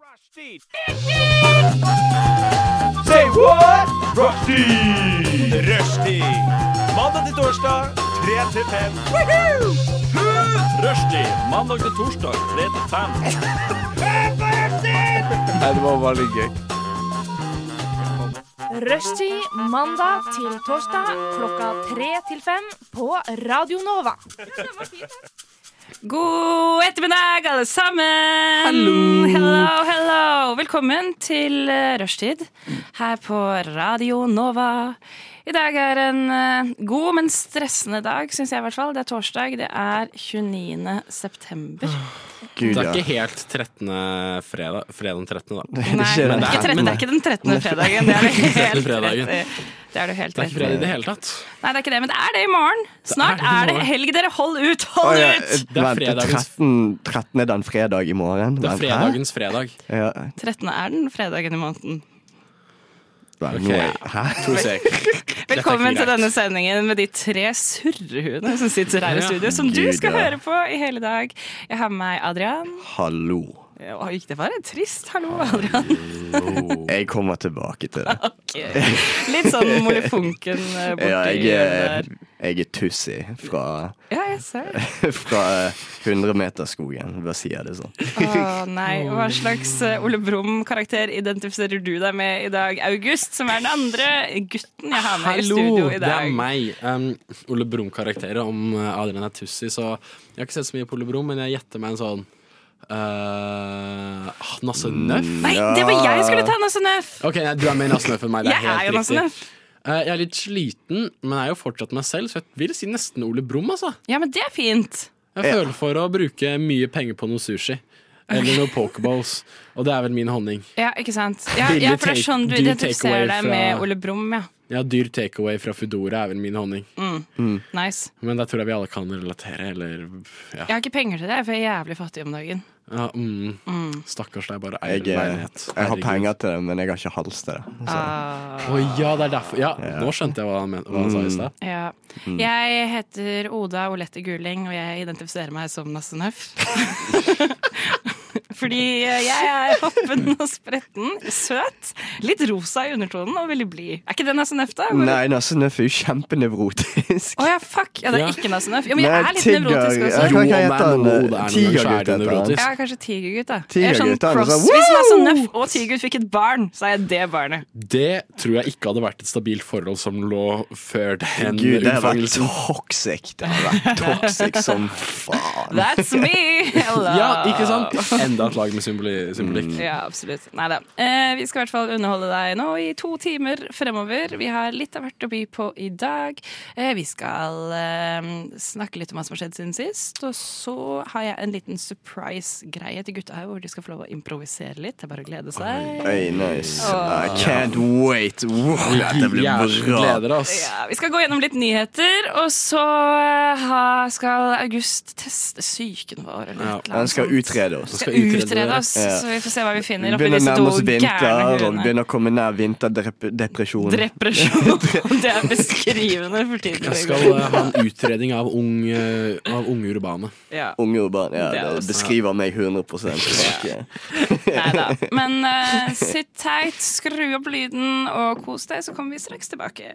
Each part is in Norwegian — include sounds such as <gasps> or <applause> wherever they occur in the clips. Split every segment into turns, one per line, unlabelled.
Rushdie! Say what? Rushdie! Rushdie! Mandag til torsdag, 3 til 5. Rushdie! Mandag til torsdag, 3 til 5.
Rushtid mandag til torsdag klokka tre til fem på Radio Nova.
God ettermiddag, alle sammen! Hello, hello. Velkommen til eh, rushtid her på Radio Nova. I dag er en eh, god, men stressende dag, syns jeg i hvert fall. Det er torsdag. Det er 29. september.
Gud,
Det er
ja.
ikke helt 13. fredag, fredag den 13. da.
Nei,
skjer
men det, er,
det.
ikke tretten- det er ikke den 13. fredagen. <laughs> Det er du
fredagen.
helt rett i. Det er du helt
Det er ikke
rett i.
fredag i det hele tatt.
Nei, det er ikke det, men det er det i morgen. Snart
det i
er det
morgen.
helg, dere. Hold ut!
Å,
Hold
ja,
ut!
Det er
Vent,
fredagens-
13, 13 er den fredag i morgen?
Det er
Vent, hæ?
fredagens fredag.
Ja.
13. er den fredagen i måneden.
Vel,
Ok.
nå er- Hæ?
To sek.
Velkommen
Dette
til
er ikke greit.
denne sendingen med de tre surrehuene som sitter her i
Ja.
studio, som du
Gud,
skal
ja.
høre på i hele dag. Jeg har med meg Adrian.
Hallo.
Oi, det var et trist hallo,
Ah.
Adrian.
Jeg kommer tilbake til det.
Litt sånn molefonken
<laughs>
eh, borti
Ja, jeg,
der.
er- jeg er Tussi fra,
Ja, jeg ser
<laughs>
det.
fra 100-meterskogen. Bare sier jeg det sånn.
Å nei, hva slags eh, Ole Brumm-karakter identifiserer du deg med i dag? August, som er den andre gutten jeg har med i
Hallo,
studio i
det
dag.
er meg. Um, Ole Brumm-karakterer om eh, Adrian er tussi, så jeg har ikke sett så mye på Ole Brumm, men jeg gjetter meg en sånn uh, Nasse
Mm.
Nøff.
Nei, det var jeg som skulle ta Nasse Nøff!
Ok, nei, du er mer Nasse Nøff enn meg. Det er
<laughs> Jeg er jo
helt
Nasse
riktig.
Nøff.
Eh, jeg er litt sliten, men jeg er jo fortsatt meg selv, så jeg vil si nesten Ole Brumm, altså.
Ja, men det er fint.
Eh.
Jeg føler for å bruke mye penger på noe sushi. Eller noe pokeballs. Og det er vel min honning.
Ja, ikke sant. Ja,
Vil du
ja, for det er
take-
sånn du
do you take
identifiserer
away
deg
fra-
med Ole Brumm, ja.
Ja, dyr takeaway fra Foodora er vel min honning.
Nice.
Men der tror jeg vi alle kan relatere, eller Ja.
Jeg har ikke penger til det, for jeg er jævlig fattig om dagen.
ja mm. Stakkars, det er bare eier
Jeg, eh,
leilighet.
jeg har
Herregud.
penger til det, men jeg har ikke hals til det. Så.
Å ja, det er derfor. Ja, nå skjønte jeg hva han, men, hva han sa
Mm.
i stad.
Ja. Jeg heter Oda Olette Guling, og jeg identifiserer meg som Nasse Nøff. <laughs> Fordi jeg er hoppen og spretten, søt, litt rosa i undertonen og veldig blid. Er ikke det Nasse Nøff, da? Bare-
Nei, Nasse Nøff er jo kjempenevrotisk.
Å ja, fuck! Ja, det er
Ja.
ikke Nasse Nøff. Jo, men jeg er litt nevrotisk
Jeg
også.
Jo,
kan ikke
om det
hete
er
han
noe det er noen gang,
eh,
så er
Tigergutt
det
heter han.
nevrotisk.
Ja, kanskje Tigergutt, da. Jeg er sånn
Tigergutt, han er
cross.
sånn,
Hvis Nasse
«Wow!»
Nøff og Tigergutt fikk et barn, så er jeg det barnet.
Det tror jeg ikke hadde vært et stabilt forhold som lå før den
Gud, det har vært
unnfangelsen.
toxic. Det har vært toxic som faen.
That's me! Hello!
Ja, ikke sant? Enda et lag med symboli- symbolikk.
Mm.
Ja, absolutt. Nei da. Eh, vi skal i hvert fall underholde deg nå i to timer fremover. Vi har litt av hvert å by på i dag. Eh, vi skal eh, snakke litt om hva som har skjedd siden sist. Og så har jeg en liten surprise-greie til gutta her, hvor de skal få lov å improvisere litt. Det er bare å glede seg.
Oi, nice. I can't wait. Wow, dette blir
Jævlig
bra.
gleder, ass.
Ja, vi skal gå gjennom litt nyheter, og så eh, ha, skal August teste psyken vår. Eller
Ja,
et eller
Han
annet
skal
sånt.
utrede oss.
skal
Skal
utrede
utrede oss,
Ja.
så vi får se hva vi finner oppi
Begynner å
disse
nærme
to
oss vinter og
gærne huene.
begynner å komme nær
<laughs>
vinterdepresjon.
Depresjon. Det er beskrivende for tiden.
Jeg skal eh, ha en utredning av, ung, eh, av unge urbane.
Ja.
Unge urban. Ja,
Det er
det
oss.
beskriver meg 100 Ok.
Neida. Men eh, sitt teit, skru opp lyden og kos deg, så kommer vi straks tilbake.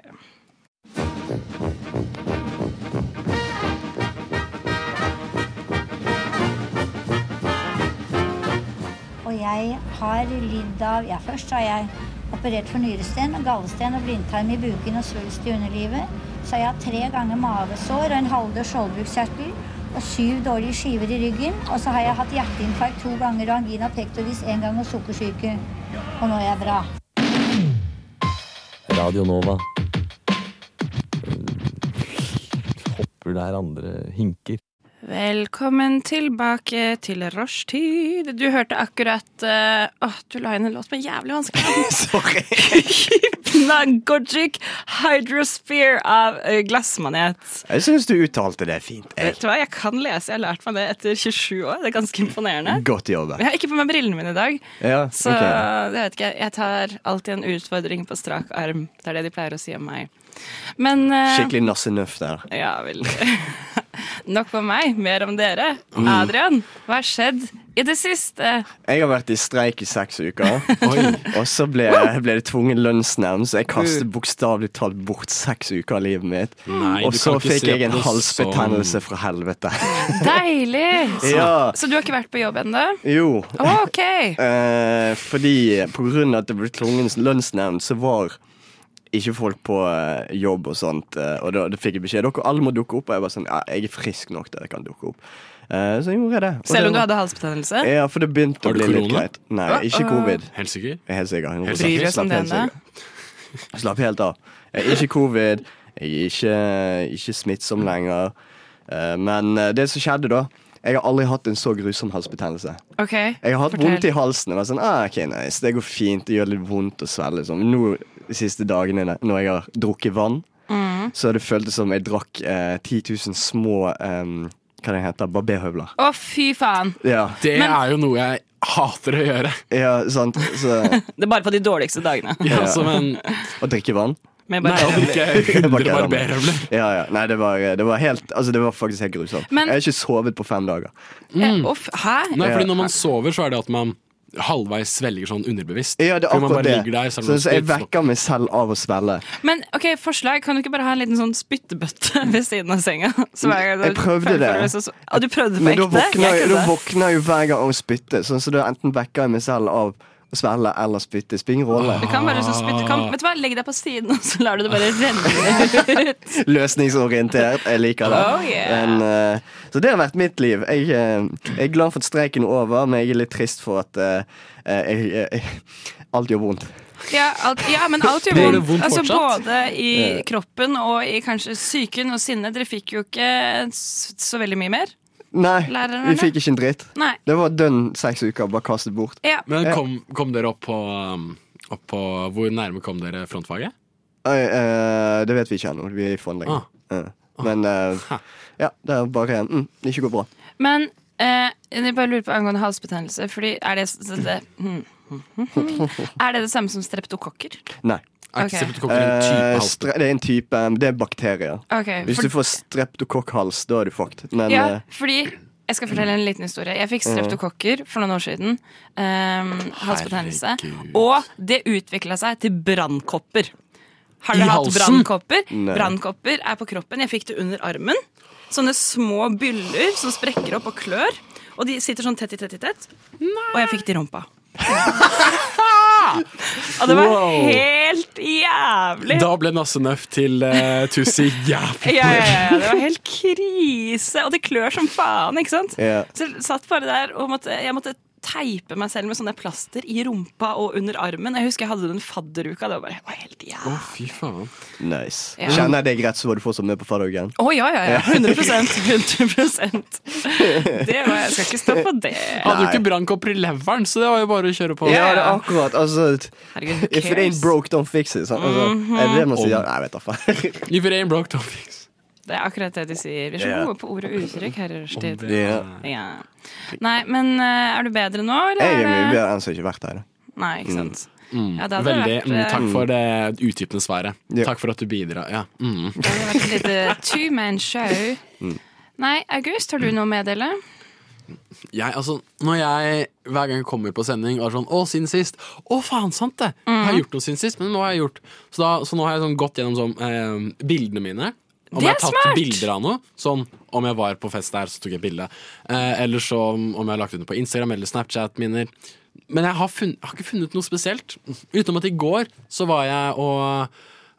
Og jeg har lidd av Ja, først har jeg operert for nyresten, gallesten og blindtarm i buken og svulst i underlivet. Så har jeg hatt tre ganger mavesår og en halvdød skjoldbruskkjertel og syv dårlige skiver i ryggen. Og så har jeg hatt hjerteinfarkt to ganger og angina pectoris én gang og sukkersyke. Og nå er jeg bra.
Radio Nova. Eh, Hopper der andre hinker.
Velkommen tilbake til rushtid. Du hørte akkurat eh, Åh, du la inn en låt med jævlig vanskelig navn. <laughs>
Sorry.
Hypnagogic Hydrosphere av eh, Glassmanet.
Jeg syns du uttalte det fint.
Eh.
Vet
Jeg.
du hva, Jeg kan lese, jeg har lært meg det etter 27 år. Det er ganske imponerende.
Godt jobba.
Jeg har ikke på meg brillene mine i dag,
Ja,
så eh,
ok.
jeg vet ikke. Jeg tar alltid en utfordring på strak arm. Det er det de pleier å si om meg. Men eh,
Skikkelig Nasse Nøff der.
Ja, veldig. <laughs> Nok om meg, mer om dere.
Mm.
Adrian, hva har skjedd i det siste?
Jeg har vært i streik i seks uker.
<laughs> Oi.
Og så ble, ble det tvungen lønnsnevnd, så jeg kastet bokstavelig talt bort seks uker av livet mitt.
Nei,
og
du
så
kan ikke
fikk
se
jeg en
på det
halsbetennelse fra
<laughs>
helvete. <laughs>
Deilig!
ja,
Så du har ikke vært på jobb ennå?
jo.
OK.
Eh, fordi på grunn av at det ble tvungen lønnsnevnd, så var ikke folk på eh, jobb og sånt. eh, og da, da fikk jeg beskjed dere alle må dukke opp. Og jeg var sånn, ja, jeg er frisk nok til at jeg kan dukke opp. Eh, så gjorde jeg det. Og
Selv om
det
du
var-
hadde halsbetennelse?
Ja, for det begynte
Har
å
du
bli litt
korona?
greit. Nei, ikke covid.
Helt sikker?
Jeg er helt sikker. 100%.
Bryr
vi oss om
Slapp helt
det ennå?
sikker. Slapp helt av. Jeg er ikke covid. Jeg er ikke, ikke smittsom lenger. Eh, men eh, det som skjedde da Jeg har aldri hatt en så grusom halsbetennelse.
Ok,
Jeg har hatt
fortell.
vondt i halsen. Og vært sånn, ah, ok, nice, Det går fint. Det gjør litt vondt å svelge. Sånn. Men Nå, de siste dagene da- når jeg har drukket vann,
Mm.
så har det føltes som jeg drakk eh, 10 000 små eh, hva det heter, barberhøvler.
Å, fy faen.
Ja,
Det er jo noe jeg hater å gjøre.
ja, sant. Så,
Det er bare på de dårligste dagene.
<laughs> Ja, som en
å drikke vann.
Med
Altså, Nei,
bare-
jeg drikker
Jeg
100
bare kødder med det.
barberhøvler.
Ja, ja. Nei, det var, det var helt Altså, det var faktisk helt grusomt.
Men-
jeg har ikke sovet på fem dager. Mm.
Eh, Uff, hæ?
Nei, fordi når man sover, så er det at man halvveis svelger sånn underbevisst.
Ja, det er
Fordi man
akkurat
bare
det.
ligger Der, selv om
så,
man
så jeg
spiser.
vekker meg selv av å svelle.
Men ok, forslag, kan du ikke bare ha en liten sånn spyttebøtte <laughs> ved siden av senga? Så hver gang du
Jeg prøvde
føler-
det.
føler deg så- Å, du prøvde det på
Men da
ekte?
våkner
Jeg
jeg, da
kødder.
våkner jeg jo hver gang av å spytte. Sånn, så da enten vekker jeg meg selv av å svelle eller spytte. Spiller ingen rolle.
Du kan bare så spytte, kan, vet du hva, legg deg på siden, og så lar du det bare renne.
<laughs> <laughs> Løsningsorientert. Jeg liker det.
Oh, yeah.
Men, eh, så det har vært mitt liv. Jeg, eh, jeg er glad for at streiken er over, men jeg er litt trist for at eh, jeg, eh, jeg, alt gjør vondt.
Ja, alt, ja men alt gjør
Gjør det
vondt.
vondt
altså,
fortsatt?
både i kroppen og i kanskje psyken og sinnet. Dere fikk jo ikke s- så veldig mye mer.
Nei,
Lærerne?
vi fikk ikke en dritt.
Nei.
Det var dønn seks uker, bare kastet bort.
Ja.
Men kom, kom dere opp på, um, opp på Hvor nærme kom dere frontfaget?
Oi, eh, det vet vi ikke ennå. Vi er i forhandlinger.
Ah.
Eh, Men eh, ja, det er bare mm, Det ikke går bra.
Men eh, jeg bare lurer på angående halsbetennelse. Fordi er det, så det, hmm. er det det samme som streptokokker?
Nei.
Er
Ok.
ikke streptokokker en type
Eh,
halsbetennelse?
stre- det er en type eh, Det er bakterier.
Ok,
Hvis
for,
du får streptokokkhals, da er du fucked. Men
ja,
eh,
fordi jeg skal fortelle en liten historie. Jeg fikk streptokokker for noen år siden. Um, halsbetennelse.
Herregud.
Og det utvikla seg til brannkopper. Har dere
I
hatt
halsen?
brannkopper?
Nei.
Brannkopper er på kroppen. Jeg fikk det under armen. Sånne små byller som sprekker opp og klør. Og de sitter sånn tett i tett i tett. Og jeg fikk det i
<laughs>
rumpa. og det var
Wow.
helt jævlig.
Da ble Nasse Nøff til uh, Tussi <laughs> jævlig.
Ja, ja, ja, det var helt krise. Og det klør som faen, ikke sant?
Ja.
Så jeg satt bare der og måtte, jeg måtte teipe meg selv med sånne plaster i rumpa og under armen. Jeg husker jeg hadde den fadderuka. Det var bare det var helt
Å,
jævlig.
fy faen.
nice.
Ja.
Kjenner jeg deg rett, så var du fortsatt med på fadderhuggen.
Å ja, ja, ja. 100 100 Det var, Jeg skal ikke stå på det.
Hadde jo ikke brannkopper i leveren, så det var jo bare å kjøre på.
Ja, det er akkurat. Altså, t-
Herregud, Mhm. who
if it ain't
cares?
broke, don't fix it. sant? Altså, Er det det man sier?
Om.
Nei, jeg vet da
<laughs>
faen.
If it ain't broke, don't fix
Det er akkurat det de sier. Vi er
Ja.
så gode på ord og uttrykk her i rushtid.
Ja.
Ja. Nei, men eh, er du bedre nå, eller?
Jeg er mye
det-
bedre enn som ikke har vært her. da.
Nei, ikke sant. Ja, det hadde
Veldig.
vært,
Mm,
eh,
takk for det utdypende svaret.
Ja.
Takk for at du bidrar. Ja. Mm.
Det hadde vært et
<laughs>
lite two-man-show. Nei,
Mm.
August, har du noe å meddele?
Jeg, altså, når jeg hver gang jeg kommer på sending og er sånn 'Å, siden sist'. Å, faen, sant det! Jeg
Mhm.
har gjort noe siden sist, men nå har jeg gjort Så, da, så nå har jeg sånn gått gjennom sånn, eh, bildene mine. Om
Det
jeg
er
har tatt
smart!
bilder av noe. Sånn om jeg var på fest der, så tok jeg bilde. Eh, eller så om om jeg har lagt ut noe på Instagram eller Snapchat-minner. Men jeg har, funn- har ikke funnet noe spesielt. Utenom at i går så var jeg og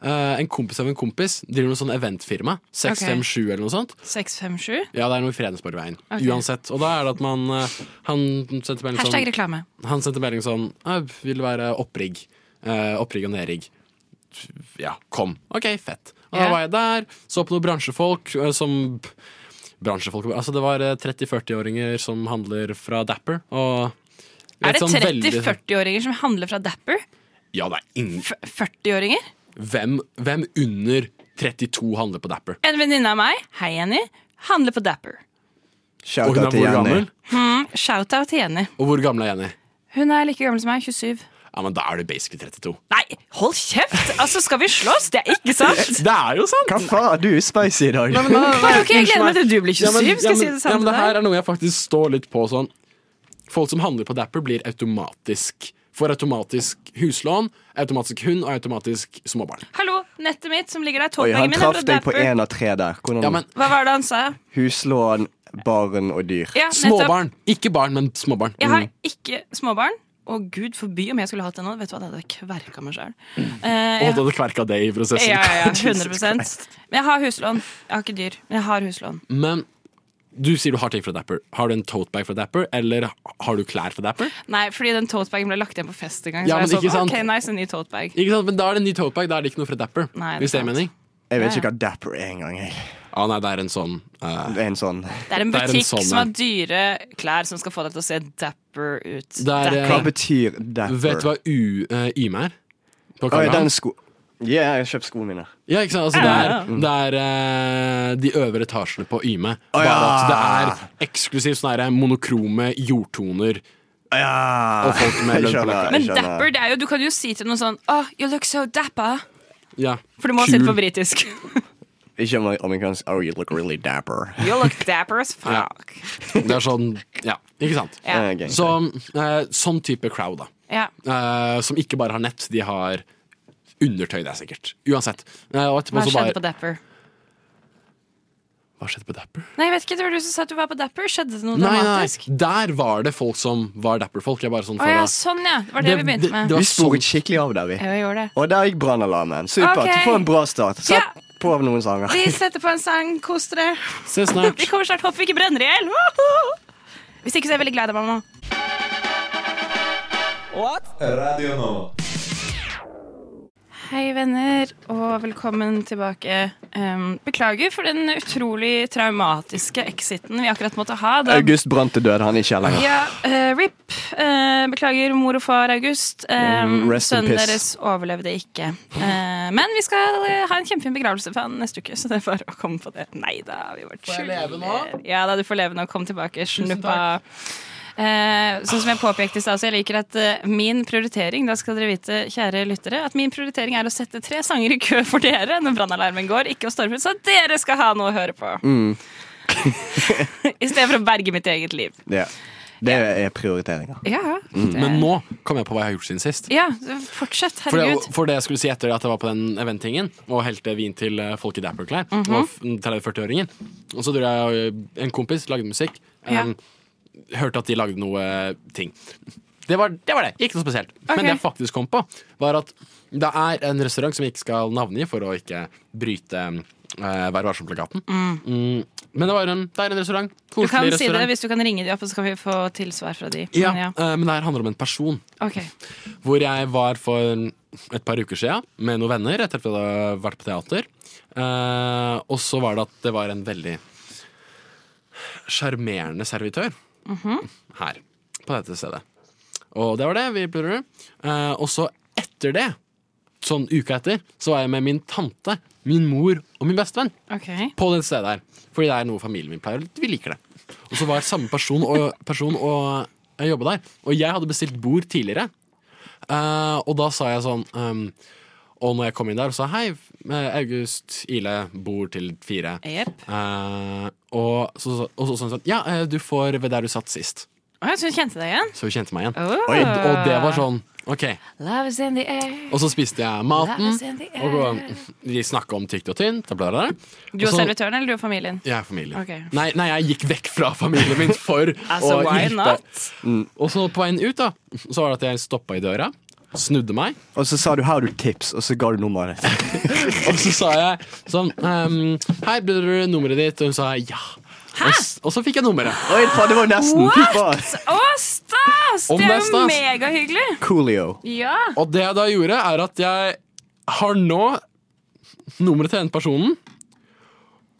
eh, en kompis av en kompis driver noe sånn eventfirma. 657 eller noe sånt.
657?
Ja, det er noe i Fredensborgveien.
Ok.
Uansett. Og da er det at man eh, Han sendte melding
Hashtag
sånn,
reklame.
han sendte melding sånn «Jeg Vil være opprigg. Eh, opprigg og nedrigg. Ja, kom. OK, fett. Og
Ja.
da var jeg der, så på noen bransjefolk eh, som Bransjefolk Altså, det var eh, 30-40-åringer som handler fra Dapper, og
Er
et
det
sånn veldig-
30-40-åringer som handler fra Dapper?
Ja, det er ingen
F- 40-åringer?
hvem, hvem under 32 handler på Dapper?
En venninne av meg, hei Jenny, handler på Dapper.
Og hun
Shout-out
er
til
hvor
Jenny.
gammel?
Shout-out til Jenny.
Og hvor gammel er Jenny?
Hun er like gammel som meg, 27.
Ja, men da er du basically 32.
Nei, hold kjeft! Altså, skal vi slåss? Det er ikke sant!
<laughs> Det er jo sant!
Hva faen? Du er spicy i dag.
Bare, ok, jeg gleder meg til du blir 27.
Ja, men,
skal
ja,
jeg si
men-
det samme
ja, men
til
det her
deg?
er noe jeg faktisk står litt på sånn. Folk som handler på Dapper, blir automatisk Får automatisk huslån, automatisk hund og automatisk småbarn.
Hallo, nettet mitt som ligger der.
Oi,
Tolvbagen
han
min er
traff
fra
deg på
Dapper.
én av tre der. Hvordan
Ja, men
Hva var det han sa?
Huslån, barn og dyr.
Ja, nettopp.
småbarn! Ikke barn, men småbarn. Mm.
Jeg har ikke småbarn. Og gud forby om jeg skulle hatt det nå. Vet du hva, Det hadde jeg kverka meg sjøl.
Og du hadde kverka Mm. det i prosessen.
Ja, ja, ja,
<laughs> Jesus
100
Christ. Mm.
Men jeg har huslån. Jeg har ikke dyr, men jeg har huslån.
Men du sier du har ting fra Dapper. Har du en totebag fra Dapper, eller har du klær fra Dapper?
Nei, fordi den totebagen ble lagt igjen på fest en gang.
Ja,
så
men
jeg
ikke
sånn,
sant.
ok, nice, en ny totebag.
Ikke sant, Men da er det en ny totebag, da er det ikke noe fra Dapper.
Nei, det
hvis det er
er sant.
mening.
Jeg vet
Ja,
ikke hva Dapper er engang. jeg.
Ah, nei, det er en sånn eh,
Det er en sånn
Det er en
Det er en
butikk
sånn
som har
en.
dyre klær som skal få deg til å se dapper ut.
Det er,
Hva
eh,
Dapping.
betyr Dapper?
Vet du hva U, eh, Yme er? På
Oi,
Karl Johan?
den sko... Ja, jeg har kjøpt skoene mine.
Ja, ikke sant? Altså, det er, det er eh, de øvre etasjene på Yme. Bare at det
ja.
er sånn eksklusivt sånne her monokrome eh, jordtoner.
Ja.
Og
<laughs>
folk med
Jeg
lønn på
skjønner,
løkka.
jeg
Men
skjønner.
dapper, det er jo, du kan jo si til noen sånn Oh, you look so dapper.
Ja.
For du må
Kul.
si det på
<laughs>
britisk.
Ikke amer- amerikansk Oh, you look really dapper.
You look dapper as fuck.
Det er sånn Ja, ikke sant?
Ja.
Eh, ok.
Så, eh, sånn type crowd, da.
Ja.
Eh, som ikke bare har nett, de har undertøy, det er sikkert. Uansett. Eh, og etterpå så
Hva skjedde
bare
på dapper?
Hva skjedde på Dapper?
Nei, jeg vet ikke, det var du som sa at du var på dapper. Skjedde det noe
Nei,
dramatisk?
nei, der var det folk som var Dapper-folk. Jeg bare sånn
Å
for
ja,
å-
sånn ja. Det var det, vi begynte med.
det var
Vi sporet
sånn-
skikkelig av der, vi.
Ja, vi gjorde det.
Og der gikk brannalarmen. Supert.
Ok.
Du får en bra start. Sett
Ja.
på av noen sanger. <laughs>
Vi setter på en sang, kos dere.
Se snart.
<laughs> Vi kommer snart, håper vi ikke brenner i hjel. Hvis ikke så er jeg veldig glad i deg, mamma.
Radio Nova.
Hei, venner, og velkommen tilbake. Em, beklager for den utrolig traumatiske exiten vi akkurat måtte ha. Da
August brant til død. Han er ikke her lenger.
Ja, eh, RIP. Eh, beklager, mor og far August. Eh,
Mm, rest in
sønnen
peace.
deres overlevde ikke. Eh, men vi skal eh, ha en kjempefin begravelse for han neste uke, så det er bare å komme på det. Nei da, vi var
jeg leve nå?
Ja da, du får leve nå. Kom tilbake, snuppa. Eh, sånn som jeg påpekte i stad, så jeg liker at eh, min prioritering Da skal dere vite, kjære lyttere, at min prioritering er å sette tre sanger i kø for dere når brannalarmen går, ikke å storme ut, så dere skal ha noe å høre på.
Mm.
<laughs> I stedet for å berge mitt eget liv.
Ja. Det er prioriteringer.
Ja, det-
Mm. Men nå kom jeg på hva jeg har gjort siden sist.
Ja, fortsett,
For det,
herregud.
for det jeg skulle si etter at jeg var på den eventtingen og helte vin til eh, folk i Dapper-klær, og f- 30-40-åringen Og så dro jeg og en kompis, lagde musikk, eh,
Ja.
hørte at de lagde noe eh, ting. Det var, det var det. Ikke noe spesielt. Men det jeg faktisk kom på, var at det er en restaurant som jeg ikke skal navngi for å ikke bryte eh, Vær varsom-plakaten. Mm. Men det, var en, det er en restaurant.
Du
Koselig
kan si
restaurant.
det hvis du kan ringe de opp, og så kan vi få tilsvar fra de.
ja,
Men ja.
eh, men det her handler om en person.
Ok.
Hvor jeg var for et par uker siden med noen venner etter at vi hadde vært på teater. Eh, og så var det at det var en veldig sjarmerende servitør her på dette stedet. Og det var det. vi ble eh, Og så etter det, sånn uka etter, så var jeg med min tante, min mor og min bestevenn
ok
på det stedet her. Fordi det er noe familien min pleier. Vi liker det. Og så var samme person og, person og jeg jobba der. Og jeg hadde bestilt bord tidligere. Eh, og da sa jeg sånn ehm, Og når jeg kom inn der og sa hei, eh, August, Ile, bord til fire.
Jep.
Eh, og så sa så, sånn sånn Ja, eh, du får ved der du satt sist.
Å, jeg synes du kjente deg igjen.
Så hun kjente meg igjen.
Oh.
Og, og det var sånn OK.
Love is in the air.
Og så spiste jeg maten.
Love is in the
Og
air.
vi snakka om tykt og tynt. Og bla, bla, bla.
Du og
Og så-
servitøren, eller du og familien?
Jeg er familie.
Ok.
Nei, nei, jeg gikk vekk fra familien min
<laughs>
for
Altså,
å
why
hjelpe.
not?
Og så på veien ut, da, så var det at jeg stoppa i døra, snudde meg,
Og så sa du 'har du tips', og så ga du nummeret ditt.
og så sa jeg sånn ehm, Hei, blir det nummeret ditt? Og hun sa ja. Og, s- og så fikk jeg nummeret.
Oi, faen, det var nesten. Fy faen.
Å, stas!
Om
Det
det er
er jo
stas.
megahyggelig.
Coolio.
Ja.
Og det jeg da gjorde, er at jeg har nå nummeret til den personen,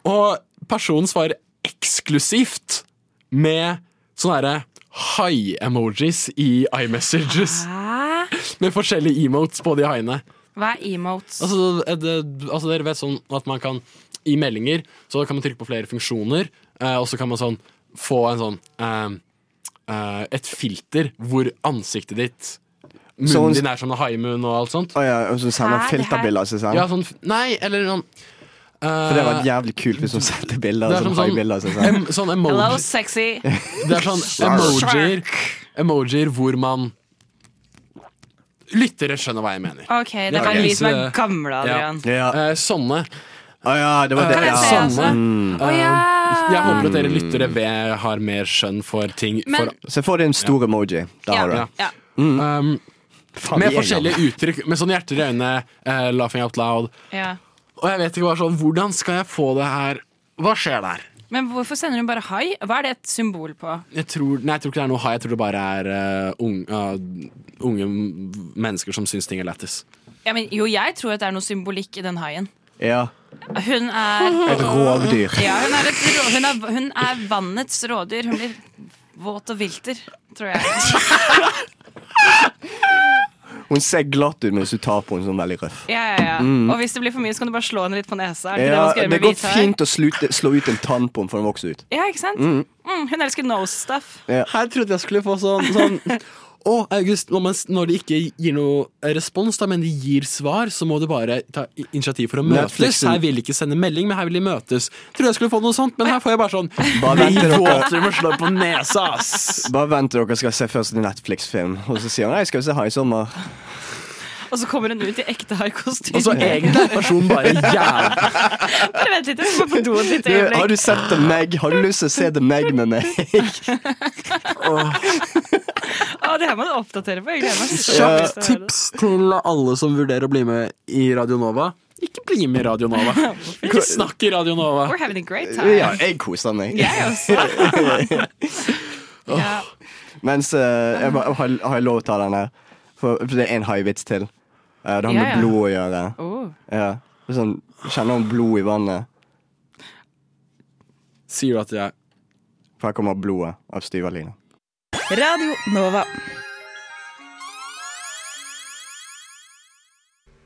og personen svarer eksklusivt med sånne herre high-emojis i iMessages.
Hæ?
Med forskjellige emotes på de haiene.
Hva er emotes?
Altså, er det, altså dere vet sånn at man kan I meldinger så kan man trykke på flere funksjoner, eh, og så kan man sånn få en sånn eh, eh, Et filter hvor ansiktet ditt Munnen
Sånn-
din er sånn haimunn og alt sånt.
Å ja, og så sender han
Hæ, det her-
filterbilder av seg selv.
Ja, sånn, f- nei, eller sånn eh,
For det var jævlig kult hvis hun sendte bilder
det er
av
sånn,
sånn haibilder av seg
sånn,
selv.
em, sånn
Hello,
emoji,
sexy.
det er sånn emojier Emojier hvor man Lyttere skjønner hva jeg mener.
Ok, det var en lyd som er
Vise-
gammel, Adrian.
Ja.
Eh, sånne.
Å ja, det var det.
Eh,
jeg
Ja.
se, altså?
sånne.
Å ja.
Jeg håper at dere lyttere ved har mer skjønn for ting.
Ah. Men-
for,
Se for deg en stor emoji. Der har du
Ja,
det.
ja.
um,
Faen,
med
vi er gamle.
forskjellige uttrykk. Med sånne hjerter i øynene, eh, laughing out loud.
ja.
Og jeg vet ikke hva sånn, Hvordan skal jeg få det her? Hva skjer der?
Men hvorfor sender hun bare hai? Hva er det et symbol på?
Jeg tror, nei, jeg tror ikke det er noe high. Jeg tror det bare er eh, ung- eh, unge mennesker som syns ting er lættis.
Ja, men, jo, jeg tror at det er noe symbolikk i den haien.
Ja.
Hun er, <laughs>
Et rovdyr.
ja, hun er, et, rå- hun er, hun er vannets rådyr. Hun blir våt og vilter, tror jeg.
Hun ser glatt ut mens du tar på henne sånn veldig røff.
Ja, <laughs> ja, ja. Og hvis det blir for mye, så kan du bare slå henne litt på nesa. Er ikke det
Mm. Ja,
man skal gjøre
det
med
går
hvithai?
fint å slute, slå ut en tann på den for den vokser ut.
Ja, ikke sant? Mm, hun elsker nose stuff.
Her trodde jeg skulle få sånn, sånn Å, August, når, man, når de ikke gir noe respons, da, men de gir svar, så må du bare ta i- initiativ for å møtes.
Netflixen.
Her vil de ikke sende melding, men her vil de møtes. Trodde jeg skulle få noe sånt, men her får jeg bare sånn
Bare vent til
Bli
dere-
våtere med slå på nesa, ass!
Bare vent til dere skal se først en Netflix-film, og så sier han nei, skal vi se Hai i sommer.
Og så kommer hun ut i ekte haikostyme. <laughs>
Altså, egentlig er personen bare jævlig
Bare vent litt, jeg skal gå på do et lite
Du, har
øyeblikk.
du sett The Meg? Har du lyst til å se The Meg med meg?
Å, det her må du oppdatere på. Jeg gleder meg. så mye
Kjapt
til å høre det.
Eh, tips til alle som vurderer å bli med i Radio Nova. Ikke bli med i Radio
<laughs>
Nova. Ikke snakk i Radio Nova.
We're having a great time.
Ja, jeg koser meg.
Jeg også.
<laughs>
<laughs> ja.
Mens eh, jeg, bare- har, har jeg lov til å ta den her? For, for det er en haivits til. Eh, det har med
Ja, ja.
blod å gjøre.
Oh.
Ja. Sånn, kjenner hun blod i vannet?
Sier du at jeg
For her kommer blodet av styverlina.
Radio Nova.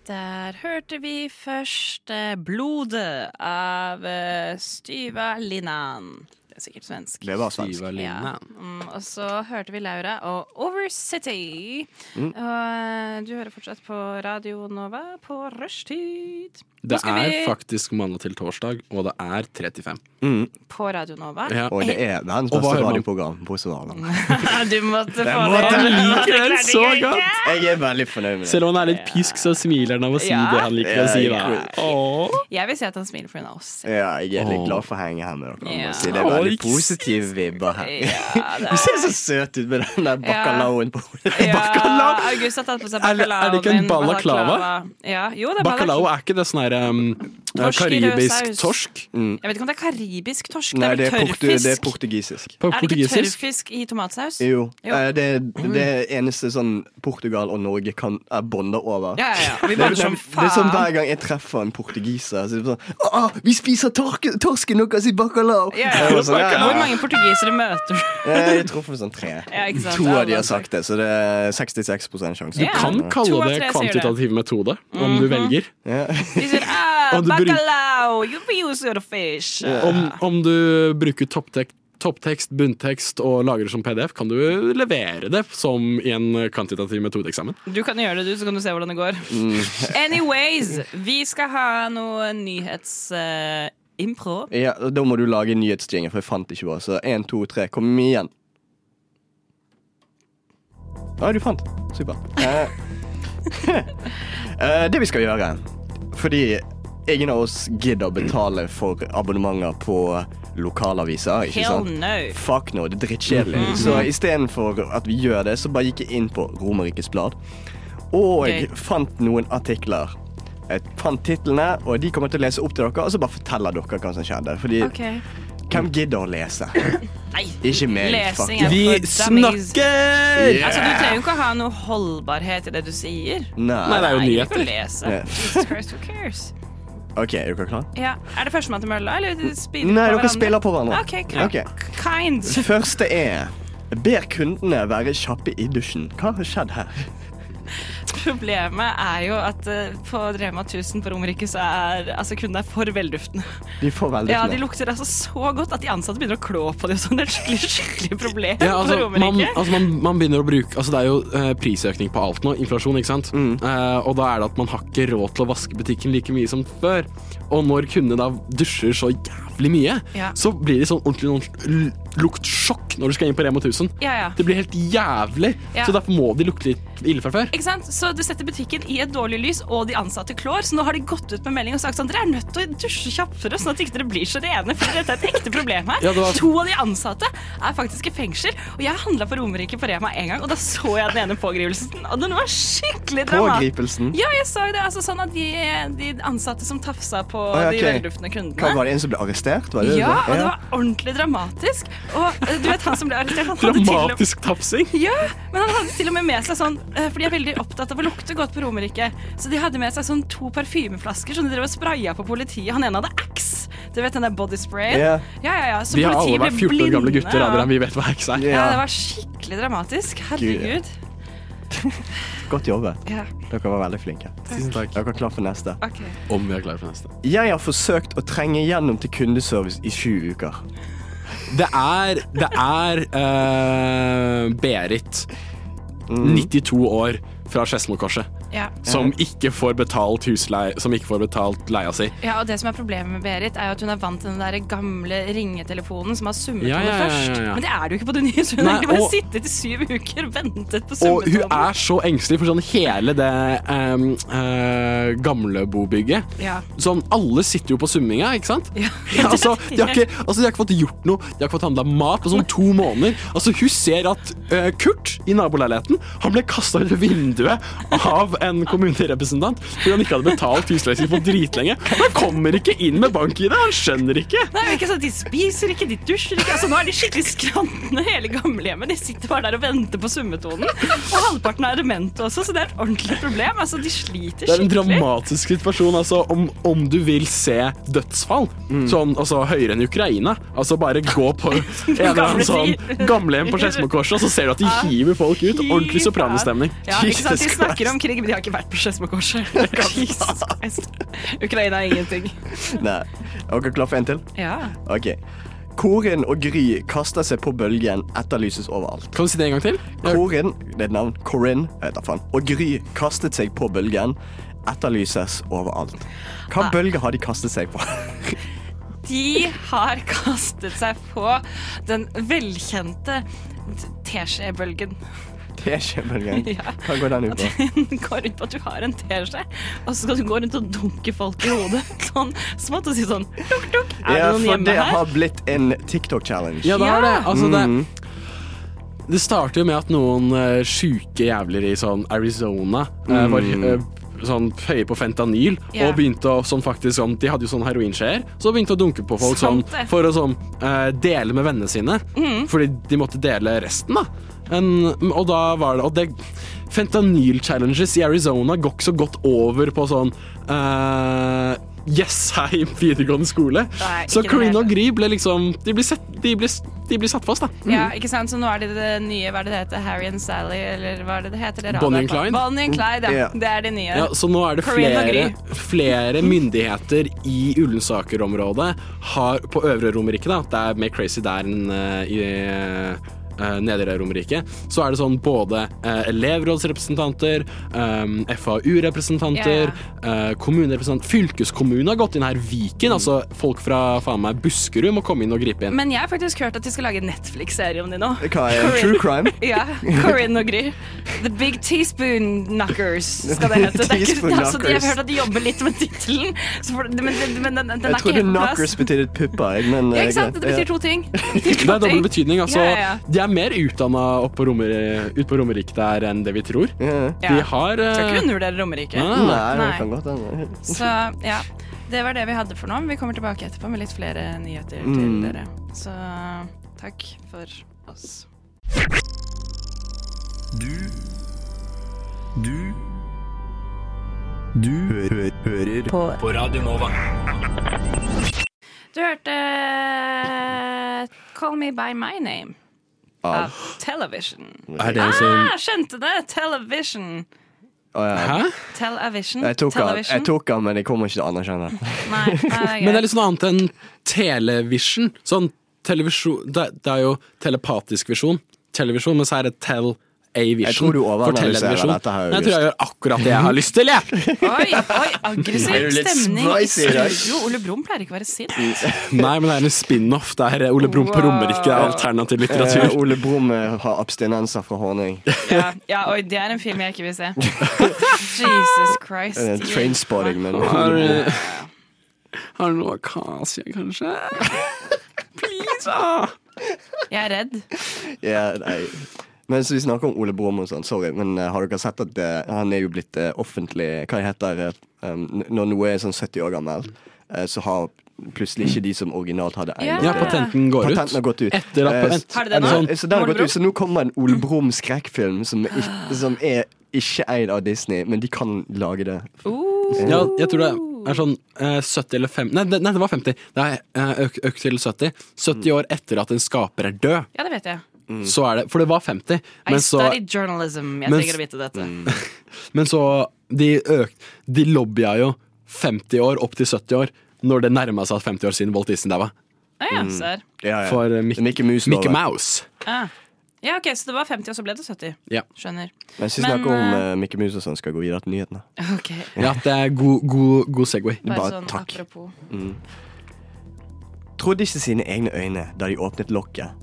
Der hørte vi først eh, 'Blodet' av eh, Styva Linan. Det er sikkert svensk.
Det var svensk.
Siva Lina?
Mm, og så hørte vi Laura og Over City. Og eh, du hører fortsatt på Radio Nova på rushtid. Nå
Det
skal
er
vi-
faktisk mandag til torsdag, og det er 35.
På Radio Nova.
Ja.
Og det er verdens
Og hva
beste
hører man?
radioprogram. bortsett fra Arland.
<laughs> du måtte få
Han
det.
liker den så godt!
<laughs> Jeg er veldig fornøyd med det.
Selv om han er litt pisk, så smiler han av å si
Ja.
det han liker å si. Da.
Ja,
Jeg vil si at han smiler for hun er oss.
Ja, jeg er litt glad for å henge her med dere. Jeg
Ja.
må si. Det er
Å,
veldig
ikke
positive vibber her.
Ja, det
Du ser så søt ut med den der bacalaoen på hodet.
ja, August har tatt på seg
Er det-
bacalaoen
er det ikke en
min,
balaklava?
Ja, jo, det er
Bacalao
bacalao.
er ikke det sånn her um,
Torsk i rød
karibisk
saus.
torsk?
Mm.
Jeg vet ikke om det er karibisk torsk.
Nei,
det
det
er
er,
vel
portu
tørrfisk.
det er portugisisk.
På
er det ikke
portugisisk?
tørrfisk i tomatsaus?
Jo.
Jo.
Eh, Det, det eneste sånn Portugal og Norge kan er bonda over.
Ja, ja, ja. Vi
Det
bader
er, det,
som
det er sånn
faen.
Hver gang jeg treffer en portugiser, så er det sånn «Å, å, 'Vi spiser torke, torsken deres i bacalao!'
Ja,
Jeg
ja.
var sånn,
Hvor
ja, ja.
mange portugisere møter du?
Eh, Jeg tror for sånn tre.
Ja, ikke sant?
To av de
Ja,
har sagt det, så det er 66 sjanse.
Du
Du kan
Ja.
To av
kalle
tre
det
sier det. Mhm.
kvantitativ metode, om du velger.
De sier ah,
<laughs>
Og du bruk-
bacalao, you use your fish.
Om, om du bruker topptek topptekst, bunntekst og lagrer som PDF, kan du levere det som i en kvantitativ metodeeksamen.
<laughs> Du kan gjøre det, du, så kan du se hvordan det går. <laughs>
Mm.
Anyways, vi skal ha noe eh, nyhetsimpro.
Ja, og Da må du lage en nyhetsjingle, for jeg fant ikke hva. Så én, to, tre, kom igjen. Ja, du fant. Supert. Eh, <laughs> eh, det vi skal gjøre Fordi ingen av oss gidder å betale for abonnementer på lokalaviser. ikke
Hell
sant?
no.
Fuck no, det er drittkjedelig.
Mm-hmm.
Så istedenfor at vi gjør det, så bare gikk jeg inn på Romerikes Blad. Og
Gøy.
fant noen artikler. Jeg fant titlene, og de kommer til å lese opp til dere. Og så bare forteller dere hva som skjedde. Fordi hvem gidder å lese?
<laughs> Nei.
Ikke meg.
Lesing
fuck.
er for dummies.
snakker!
Altså, du trenger jo ikke å ha noe holdbarhet i det du sier.
Nei, det
Nei.
er jo
Nei, du kan
nyheter.
lese.
Ja.
Jesus Christ, who cares?
OK, er dere klare?
Ja. Er det førstemann til mølla, eller spiller
Nei, dere spiller på hverandre.
Ok, klart.
Ok.
Kind.
Første er Ber kundene være kjappe i dusjen. Hva har skjedd her?
<laughs> Problemet er jo at eh, på Rema 1000 på Romerike så er altså, kundene er for velduftende.
De får veldig
Ja,
fnø.
De lukter altså så godt at de ansatte begynner å klå på det. og Sånn. Det er et skikkelig, skikkelig problem
Ja, altså,
på
man,
Romerike.
altså man, man begynner å bruke altså Det er jo eh, prisøkning på alt nå, inflasjon, ikke sant?
Mm.
Eh, og da er det at man har ikke råd til å vaske butikken like mye som før. Og når kundene da dusjer så jævlig mye,
Ja.
så blir det sånn ordentlig, ordentlig l- luktsjokk når du skal inn på Rema 1000.
Ja, ja.
Det blir helt jævlig,
Ja.
så derfor må de lukte litt ille fra før.
Ikke sant? Så Du setter butikken i et dårlig lys, og de ansatte klår. Så nå har de gått ut med melding og sagt sånn dere er nødt til å dusje kjappere, sånn at ikke dere blir så rene. For dette er et ekte problem her.
<laughs> Ja, det var-
To av de ansatte er faktisk i fengsel. Og jeg handla på Romerike på Rema en gang, og da så jeg den ene pågrivelsen. Og den var skikkelig dramatisk.
Pågripelsen.
Ja, jeg sa jo det. altså Sånn at de, de ansatte som tafsa på
ja,
de
ok.
velduftende
Hva
kundene.
Var det en som ble arrestert? Var det det?
Ja, og det var ordentlig dramatisk. Og eh, du vet han som ble arrestert, han hadde til og med
Dramatisk tapsing.
ja, men han hadde til og med med seg sånn eh, For de er veldig opptatt av å lukte godt på Romerike. Så de hadde med seg sånn to parfymeflasker som de drev og spraya på politiet. Han ene hadde Axe. Du vet den der body sprayen?
Ja.
ja, ja. ja. Så
Vi har alle vært
politiet
14
ble
år gamle
blinde,
gutter,
ja.
Adrian. Vi vet hva heks er.
Ja.
Ja, det var skikkelig dramatisk. Herregud.
Godt jobbet.
Ja,
Dere var veldig flinke.
Tusen takk.
Dere er klar for neste.
ok.
Om vi er klare for neste.
Jeg har forsøkt å trenge gjennom til kundeservice i sju
<laughs>
uker.
Det er, det er eh, Berit, 92 år, fra Skedsmokorset.
Ja.
Som ikke får betalt husleie Som ikke får betalt leia si.
ja, og det som er problemet med Berit, er jo at hun er vant til den der gamle ringetelefonen som har summetone
Ja, ja, ja, ja,
først.
ja.
Men det er det jo ikke på det nye, så hun
Nei,
har egentlig bare
og-
sittet i syv uker og ventet på
Og hun
summetonen.
er så engstelig for sånn hele det um, uh, gamle bobygget.
Ja.
Sånn, alle sitter jo på summinga, <laughs> ikke sant?
Ja.
altså, de har ikke, altså, de har ikke fått gjort noe. De har ikke fått handla mat på sånn to måneder. Altså, hun ser at eh, Kurt i naboleiligheten Han ble kasta ut vinduet av en kommunerepresentant fordi han ikke hadde betalt husleien sin for dritlenge. Han kommer ikke inn med bank-ID! Han skjønner ikke.
Nei, men ikke sant, De spiser ikke, de dusjer ikke. Altså, nå er de skikkelig skrantende, hele gamlehjemmet. De sitter bare der og venter på summetonen. Og halvparten er demente også, så det er et ordentlig problem. Altså, De sliter
Det er en
skikkelig.
dramatisk situasjon. Altså, om, om du vil se dødsfall,
Mm.
sånn, altså, høyere enn Ukraina Altså bare gå
<laughs>
på en eller annen sånn gamlehjem på Skedsmokorset, og så ser du at de hiver folk ut. Ordentlig sopranostemning.
Ja, ikke sant, De
Jesus
snakker om krig, men de har ikke vært på
<laughs>
Skedsmokorset. Jesus Christ. Ukraina er ingenting.
Nei. Er dere klar for en til?
Ja.
Ok. Korin og Gry kaster seg på bølgen, etterlyses overalt.
Kan du si det en gang til? Jeg,
Korin, det er et navn, Corin, jeg vet da faen, og Gry kastet seg på bølgen, etterlyses overalt.
Ah.
Hva bølge har de kastet seg på? <laughs>
De har kastet seg på den velkjente teskjebølgen.
Teskjebølgen.
<laughs> Ja.
Hva går den ut
At
på?
den går rundt på at du har en teskje, og så skal du gå rundt og dunke folk i hodet. <laughs> Sånn smått og si sånn dukk, dukk. Er det
Ja,
noen
for
hjemme
det
her?
har blitt en TikTok-challenge.
ja, det er det. Altså,
Mm.
det det starter jo med at noen uh, sjuke jævler i sånn Arizona eh, var eh, sånn høye på fentanyl
Ja.
og begynte å sånn faktisk sånn De hadde jo sånn heroinskjeer, så begynte å dunke på folk sånn
Sant det. Mm.
for å sånn eh, dele med vennene sine. Fordi de måtte dele resten, da. En, og da var det Og det Fentanyl-challenges i Arizona går ikke så godt over på sånn uh, Jessheim videregående skole.
Nei,
så
ikke det
Corinne og
hele.
Gry ble liksom De blir sett, de blir, de blir satt fast, da.
Ja, ikke sant? Så nå er det det nye, hva er det det heter, Harry and Sally, eller hva er det det heter? Det radioen
Bonnie and
på?
Clyde?
Bonnie and Clyde, ja.
Ja.
Det er det nye.
Ja, så nå er det
Corinne og
flere, flere myndigheter i Ullensaker-området har på Øvre Romerike, da, det er mer crazy der enn eh, i eh, Nedre Romerike, så er det sånn både eh, elevrådsrepresentanter, eh, FAU-representanter, eh, kommunerepresentanter Fylkeskommunen har gått inn her, Viken, altså folk fra faen meg Buskerud må komme inn og gripe inn.
Men jeg har faktisk hørt at de skal lage en Netflix-serie om de nå.
Hva er true crime?
Ja, Corinne og Gry. The Big Teaspoon Knockers skal det hete. Det er ikke,
Teaspoon
altså, de har
Knockers.
hørt at de jobber litt med tittelen, så for- men, men, men den, den er ikke
Jeg trodde
helt på
knockers
plass.
betydde pupper, jeg, men
Ja,
eh,
ikke sant?
greit.
Det betyr
Ja.
to ting. Det betyr to
Det er
ting.
dobbel betydning. altså.
Ja, ja, ja.
De er mer utdanna oppe på Romer- ut på Romerike der enn det vi tror.
Ja.
De har eh,
Skal ikke undervurdere Romerike.
Nei.
Nei, det
Nei.
kan godt hende.
Så ja, det var det vi hadde for nå. men Vi kommer tilbake etterpå med litt flere nyheter til
Mm.
dere. Så takk for oss.
På
Du hørte Call Me By My Name av Television.
Er det en sånn
Ah, skjønte det! Television.
ja.
Hæ?
Television.
Jeg tok han,
Television.
jeg tok han, men jeg kommer ikke til å anerkjenne det.
Nei,
<laughs>
nei,
Men det er litt sånn annet enn television. Sånn televisjon Det, det er jo telepatisk visjon. Televisjon, men så er det tel a vision
Jeg tror du overanalyserer dette her,
Jeg tror jeg gjør akkurat det jeg har lyst til,
<laughs>
jeg.
Oi, oi, aggressiv
Er du litt
stemning.
spicy i dag?
Jo, Ole Brumm pleier ikke å være sint.
Nei, men det er en spin-off der eh, Ole Brumm på
Wow.
Romerike er alternativ
Eh,
litteratur.
Ole Brumm eh, har abstinenser fra honning.
Ja, ja, oi, det er en film jeg ikke
<laughs>
vil se. Jesus Christ.
Eh, Trainspotting, men
Har
Ole Brumm
du- Har du noe akasie, kanskje? Please, ah!
Jeg er redd.
ja, nei. Mens vi snakker om Ole Brumm og sånn, sorry, men eh, har dere sett at eh, han er jo blitt eh, offentlig Hva heter det eh, når noe er sånn 70 år gammel, eh, så har plutselig ikke de som originalt hadde eiendom
Ja, patenten går
Patenten har
ut.
gått ut.
Etter at
Eh,
patent-
så-
Har de det
er
nå?
sånn-
Så, der har
Ole
gått ut,
Brumm?
så nå kommer en
<clears throat>
Ole Brumm skrekkfilm som, ikk- som er ikke eid av Disney, men de kan lage det.
Uh,
Ja, jeg tror det er sånn eh, 70 eller 50 nei, det- nei, det var 50. Det er eh, økt økt til 70.
Mm.
70 år etter at en skaper er død.
ja, det vet jeg.
Så er det, For det var 50,
I
men så,
study journalism. Jeg
Men- Mm.
trenger å vite dette.
<laughs> men så De økt, de lobbya jo 50 år opp til 70 år når det nærma seg 50 år siden Walt Disney daua.
Ah,
Mm.
ja, ser.
Ja, ja.
For eh,
Det er
Mickey,
Mickey Mouse.
Mickey
lover.
Mouse.
Ah. Ja, ok, Så det var 50, og så ble det 70.
Ja.
Skjønner. <laughs>
Mens vi
Men,
snakker om
eh,
eh, Mickey Mouse og sånn, skal jeg gå videre til nyhetene.
Ok,
ja, det er god, god, god Segway.
Bare
Bare
sånn
takk.
apropos.
Trodde ikke sine egne øyne da de åpnet lokket.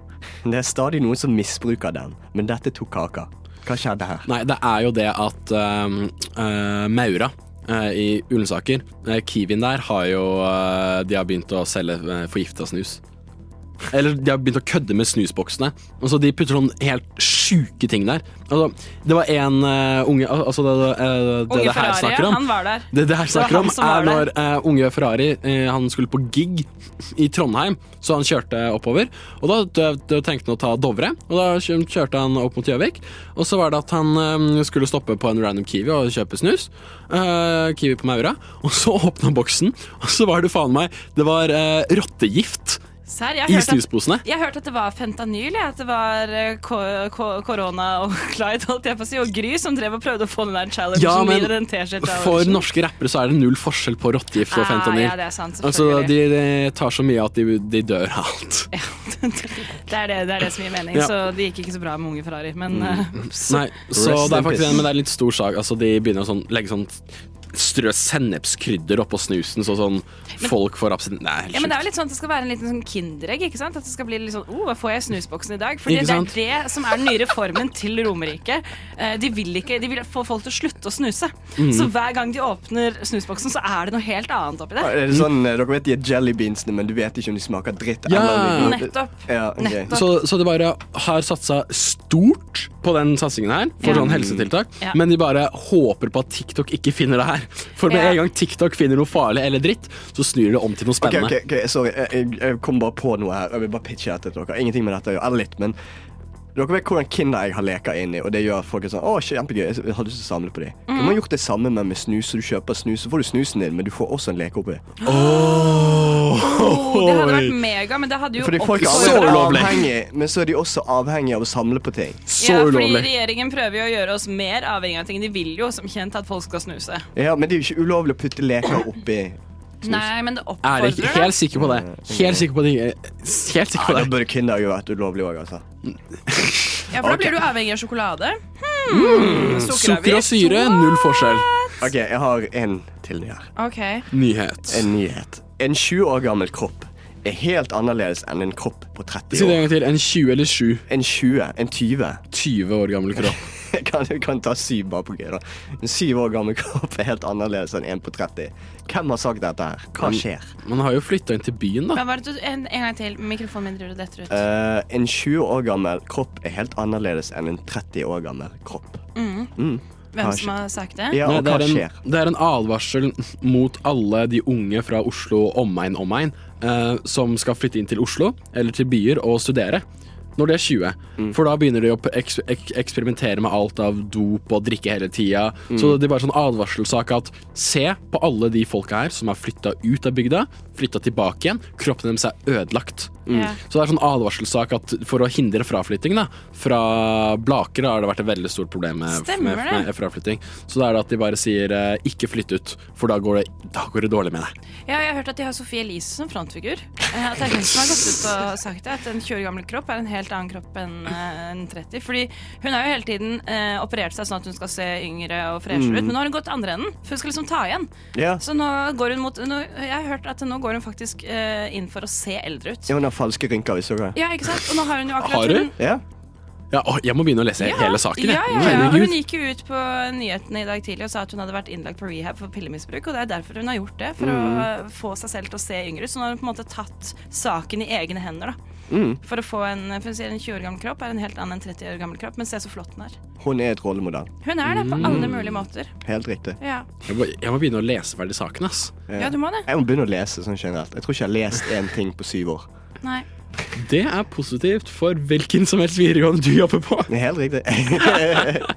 Det er stadig noen som misbruker den, men dette tok kaka. Hva skjedde her?
Nei, det er jo det at ehm, eh, Maura eh, i Ullensaker, eh, Kiwien der, har jo eh, De har begynt å selge uh, forgifta snus. Eller de har begynt å kødde med snusboksene. Altså, de putter sånn helt sjuke ting der. Altså, det var en eh, unge al- Altså, det, det, eh, det,
Unge
det her
Ferrari,
snakker om
han var der.
det det her snakker
han
om,
som
er
var
når eh, unge Ferrari eh, Han skulle på gig i Trondheim, så han kjørte oppover. Og da, da, da tenkte han å ta Dovre, og da kjø- kjørte han opp mot Gjøvik. Og så var det at han eh, skulle stoppe på en random Kiwi og kjøpe snus. Eh, kiwi på Maura. Og så åpna boksen, og så var det faen meg Det var eh, rottegift
Serr, jeg
i
hørte at
snusposene.
jeg hørte at det var fentanyl, jeg. At det var eh, ko- ko- korona og <laughs> Clyde, holdt jeg på å si, og Gry som drev og prøvde å få den der challengen
Ja, men
videre. Den T-skjorta.
For
<laughs>
norske rappere så er det null forskjell på rottegift og fentanyl.
Ah, ja, det er sant,
altså,
selvfølgelig.
de, de tar så mye at de, de dør av alt.
det, er det, det er det som gir mening.
Ja. Mm.
Så det gikk ikke så bra med unge Ferrari, men eh, ups.
Nei, så
Rest
det
in
er faktisk
peace.
en, men det er en litt stor sak. Altså, de begynner å sånn, legge sånn Strø sennepskrydder oppå snusen, så sånn folk får abstinens Nei, helt
Ja, men
sjukt.
Det er jo litt sånn at det skal være en liten sånn kinderegg. ikke sant? At det skal bli litt sånn, oh, hva får jeg i snusboksen i dag? Fordi
Ikke
det
sant?
er det som er den nye reformen til Romerike. Eh, De vil ikke, de vil få folk til å slutte å snuse.
Mm.
Så hver gang de åpner snusboksen, så er det noe helt annet oppi der.
Er det sånn, eh, dere vet de er jellybeansene, men du vet ikke om de smaker dritt.
Ja.
eller om de-
Nettopp.
Ja, ok.
Nettopp.
så, så de bare har satsa stort på den satsingen her, for
Ja.
sånn helsetiltak,
Ja.
men de bare håper på at TikTok ikke finner det her. For med
Ja.
en gang TikTok finner noe farlig eller dritt, så snur det om til noe
Ok,
spennende.
ok, ok, sorry, jeg, jeg- jeg kom bare på noe her. Jeg vil bare pitche etter dere. Ingenting med dette å gjøre. Eller litt, men dere vet hvordan Kinder jeg har leker inn i, og det gjør at folk er sånn Å, kjempegøy, jeg har lyst til å samle på de.
Mm.
Kunne man gjort det samme men med snus? Så du kjøper snus, så får du snusen din, men du får også en leke oppi.
Oh, det hadde vært mega, men det hadde jo
Fordi folk er
Så
allerede
ulovlig.
avhengige, men så er de også avhengige av å samle på ting.
Så
Ja, fordi
ulovlig.
regjeringen prøver jo å gjøre oss mer avhengig av ting. De vil jo som kjent at folk skal snuse.
Ja, Men det er jo ikke ulovlig å putte leker oppi
Nei, men det
Er ikke
oppfordrer
helt sikker på det. Helt sikker på det. Helt sikker
Ja,
på
Da
det.
burde Kinder jo vært ulovlig òg, altså.
Ja, for da blir du avhengig av sjokolade. Hmm.
Mm. Sukker og
Sukkeravgift.
syre, null forskjell.
OK, jeg har en til her.
Ok.
Nyhet.
En nyhet. En 20 år gammel kropp er helt annerledes enn en kropp på 30
Si det en
år.
gang til. En 20 eller 7?
En 20, en 20
20 år gammel kropp.
<laughs> Jeg kan, jeg kan ta syv bare på gøy, da. En syv år gammel kropp er helt annerledes enn en på 30. Hvem har sagt dette her? Hva skjer?
Man har jo flytta inn til byen, da.
Men var det du, en, en gang til. Mikrofonen min driver og detter ut.
Eh, en 20 år gammel kropp er helt annerledes enn en 30 år gammel kropp.
Hvem
har
som har sagt det?
Ja,
Mm. Nei,
og
det,
hva
er
skjer?
en, det er en advarsel mot alle de unge fra Oslo omegn omegn eh, som skal flytte inn til Oslo eller til byer og studere. når de er 20.
Mm.
For da begynner de å eks ek eksperimentere med alt av dop og drikke hele tida. Så
Mm.
det er bare sånn advarselssak at se på alle de folka her som har flytta ut av bygda, flytta tilbake igjen. Kroppen deres er ødelagt.
Mm.
Ja.
Så det er sånn advarselssak at for å hindre fraflytting da, fra Blaker har det vært et veldig stort problem med,
Stemmer
med,
det.
med fraflytting. Så da er det at de bare sier eh, 'ikke flytt ut', for da går det, da går det dårlig med deg.
Ja, jeg har hørt at de har Sofie Elise som frontfigur. Eh, At det er hun som har gått ut og sagt det, at en 20 år gammel kropp er en helt annen kropp enn eh, en 30. Fordi hun har jo hele tiden eh, operert seg sånn at hun skal se yngre og
Mm.
freshere ut, men nå har hun gått andre enden, for hun skal liksom ta igjen.
Ja.
Så nå går hun mot nå, Jeg har hørt at nå går hun faktisk eh, inn for å se eldre ut.
Ja, hun har falske rynker, vi så det.
Ja, ikke sant? Og nå har hun jo akkurat
Har hun?
hun-
Ja.
Ja, å, jeg må begynne å lese
Ja.
Eh, hele saken. jeg.
Ja, ja, ja.
Herregud.
Hun gikk jo ut på nyhetene i dag tidlig og sa at hun hadde vært innlagt på rehab for pillemisbruk, og det er derfor hun har gjort det, for
Mm.
å få seg selv til å se yngre ut. Så nå har hun på en måte tatt saken i egne hender, da.
Mm.
For å få en for hun sier en 20 år gammel kropp er en helt annen enn 30 år gammel kropp, men se så flott hun er.
Hun er et rollemodell.
Hun er det på
Mm.
alle mulige måter.
Helt riktig.
Ja,
Jeg, må, jeg må begynne å lese ferdig saken. ass
ja du må det.
Jeg må begynne å lese sånn generelt. Jeg tror ikke jeg har lest én ting på syv år.
Nei.
Det er positivt for hvilken som helst videregående du jobber på.
<laughs>
Det er helt riktig.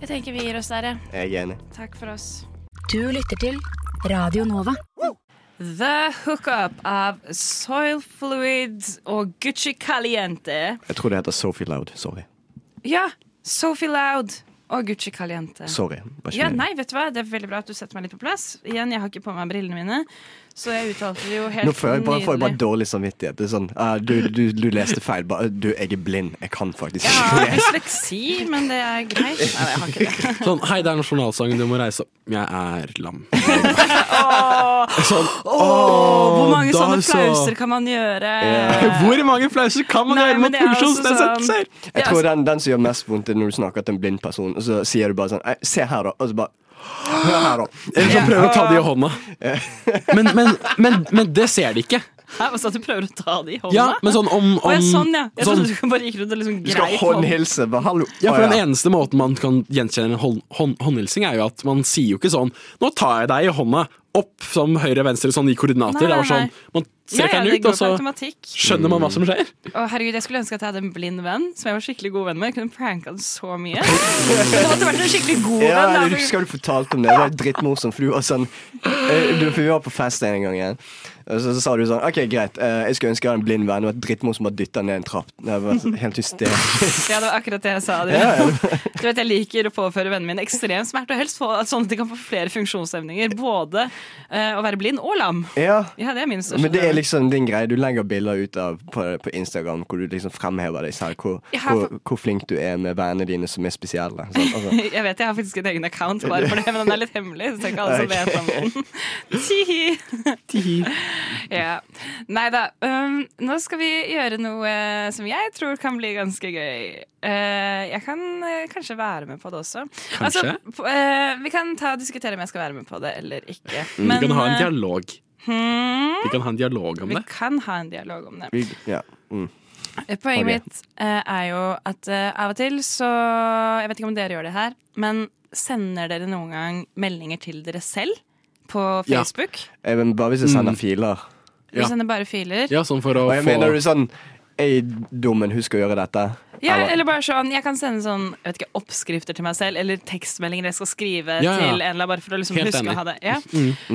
Jeg tenker vi gir oss der, ja.
Jeg er enig.
Takk for oss.
Du lytter til Radio Nova.
The Hookup av Soil Fluid og Gucci Caliente.
Jeg tror det heter Sophie Loud. Sorry.
Ja, Sophie Loud og Gucci Caliente.
Sorry. Var ikke
Ja,
meningen.
nei, vet du hva? Det er veldig bra at du setter meg litt på plass. Igjen, jeg har ikke på meg brillene mine, så jeg uttalte det jo helt
Nå får jeg bare, får jeg bare
nydelig.
dårlig samvittighet. Det er sånn, ah, du, du, du leste feil. Bare, du, jeg er blind. Jeg kan faktisk
Jeg
ikke
har <laughs>
lese.
dysleksi, men det er greit. Nei, jeg har ikke det.
Sånn, Hei, det er nasjonalsangen, du må reise opp. Jeg er
<laughs>
lam. Sånn,
Hvor mange
da
sånne
så.
flauser kan man gjøre?
Hvor mange flauser kan man
Nei,
gjøre
men
mot
det er også
funksjonsnedsettelser?
Jeg tror
altså-
den, den som gjør mest vondt, er når du snakker til en blind person, og så sier du bare sånn «Nei, Se her, da. Og så bare Hør her, da.
Eller så prøver å ta det i hånda. <laughs> Men, men, men, men det ser de ikke.
Hæ, hva sa du prøver å ta det i hånda?
Ja, men sånn om, om
Å, ja, sånn, ja. Jeg
sånn-
trodde du bare gikk rundt og liksom
Du skal
greit
håndhilse. Bare hallo.
Ja, for
Å,
Den eneste måten man kan gjenkjenne en hånd, hånd, håndhilsing, er jo at man sier jo ikke sånn 'Nå tar jeg deg i hånda', opp som høyre-venstre, sånn i koordinater.
Nei,
det var
nei,
sånn, man ser
Ja, ja,
ikke
det
den ut, og
går på
altså.
så
automatikk.
skjønner man hva som skjer.
Å, herregud, Jeg skulle ønske at jeg hadde en blind venn som jeg var skikkelig god venn med. Jeg kunne pranka den så
<laughs>
mye. Det måtte vært en skikkelig god
Ja,
venn. da,
jeg
for-
husker du fortalte om det. Det var drittmorsomt. For du var sånn eh, du, For vi var på fest en gang igjen. Og så, så sa du sånn OK, greit. eh, Jeg skulle ønske jeg hadde en blind venn. Og et drittmor som bare dytta ned en trapp. Det var helt hysterisk.
<laughs> Ja, det var akkurat det jeg sa. Adrian. Du vet, Jeg liker å påføre vennene mine ekstrem smerte, og helst få, sånn at de kan få flere funksjonshemninger. Både eh, å være blind og lam.
Ja.
Ja, det er min største
Men det er liksom din greie. Du legger bilder ut av på, på Instagram hvor du liksom fremhever deg selv. Hvor,
Jeg har
hvor, hvor flink du er med vennene dine som er spesielle. sant? Altså,
<laughs> Jeg vet jeg har faktisk en egen account bare for det, men den er litt hemmelig. Så det er ikke alle som vet om den. <laughs> Tihi. ja. Nei da. Um, nå skal vi gjøre noe som jeg tror kan bli ganske gøy. Eh, jeg kan eh, kanskje være med på det også.
Kanskje?
p- eh, vi kan ta og diskutere om jeg skal være med på det eller ikke.
Vi kan ha en
eh,
dialog.
hmm,
Vi kan ha en dialog om
vi
det.
kan ha en dialog om det.
vi, ja. mm.
Poenget
Ok.
mitt eh, er jo at eh, av og til så Jeg vet ikke om dere gjør det her, men sender dere noen gang meldinger til dere selv på
Ja.
Facebook?
Eh, Men bare hvis jeg sender filer.
Dere
Ja.
sender bare filer? Ja,
Ja, sånn for Mm. å
Og jeg mener du
få
sånn Ei, dummen, husk å gjøre dette. Eller-
eller bare sånn Jeg kan sende sånn jeg vet ikke, oppskrifter til meg selv, eller tekstmeldinger jeg skal skrive
Ja, ja.
til en eller annen, bare for å liksom
Helt
huske
enig. Mm,
å ha det.
<laughs>
Ja.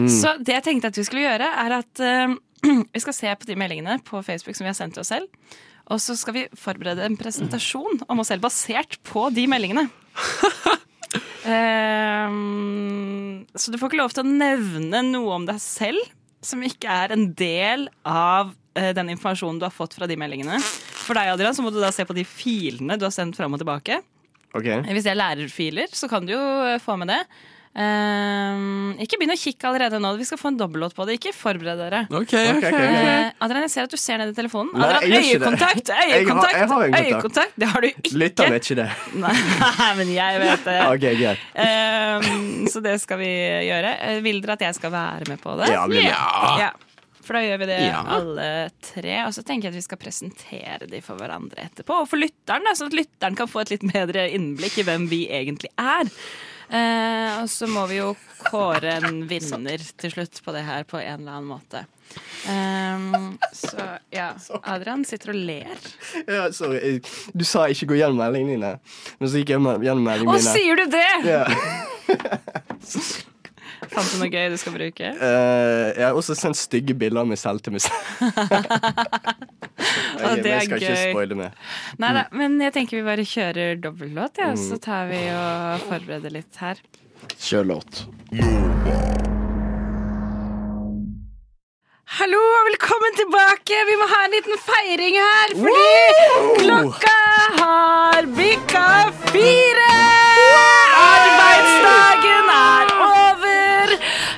Så det jeg tenkte at vi skulle gjøre, er at eh, <clears throat> vi skal se på de meldingene på Facebook som vi har sendt til oss selv. Og så skal vi forberede en presentasjon om oss selv basert på de
<laughs>
meldingene. Ehm, så du får ikke lov til å nevne noe om deg selv som ikke er en del av eh, den informasjonen du har fått fra de meldingene. For deg, Adrian, så må du da se på de filene du har sendt fram og tilbake.
Ok?
Hvis det er lærerfiler, så kan du jo eh, få med det. Ehm, ikke begynn å kikke allerede nå. Vi skal få en dobbellåt på det. Ikke forbered dere.
OK,
Ok,
OK.
ok, ok.
Eh, Adrian, jeg ser at du ser ned i telefonen.
Nei,
Adrian,
jeg gjør ikke det.
øyekontakt!
Jeg har-
Øyekontakt!
jeg har øyekontakt.
øyekontakt! Det har du ikke.
Lytter vet
<laughs>
ikke det.
Nei, <laughs> men jeg vet det.
Ok, greit.
Ehm, så det skal vi gjøre. Eh, Vil dere at jeg skal være med på det?
Ja, bli med.
Ja. For da gjør vi det
Ja.
alle tre. Og så tenker jeg at vi skal presentere de for hverandre etterpå. Og for lytteren, da, sånn at lytteren kan få et litt bedre innblikk i hvem vi egentlig er. Eh, og så må vi jo kåre en vinner til slutt på det her på en eller annen måte. Ehm, så ja. Adrian sitter og ler.
Ja, sorry. jeg- Du sa ikke 'gå gjennom meldingene dine', men så gikk jeg gjennom gjennom
Å,
meldingene mine.
sier du det?!
Ja.
Fant du noe gøy du skal bruke?
Eh, jeg har også sendt stygge bilder av meg selv til meg
<laughs>
selv. Ok, men
det er
jeg skal ikke
gøy.
spoile mer.
Nei da, men jeg tenker vi bare kjører dobbeltlåt, ja, så tar vi og forbereder litt her.
Kjør låt.
Hallo og velkommen tilbake! Vi må ha en liten feiring her, fordi klokka har bikka fire! Arbeidsdagen er over!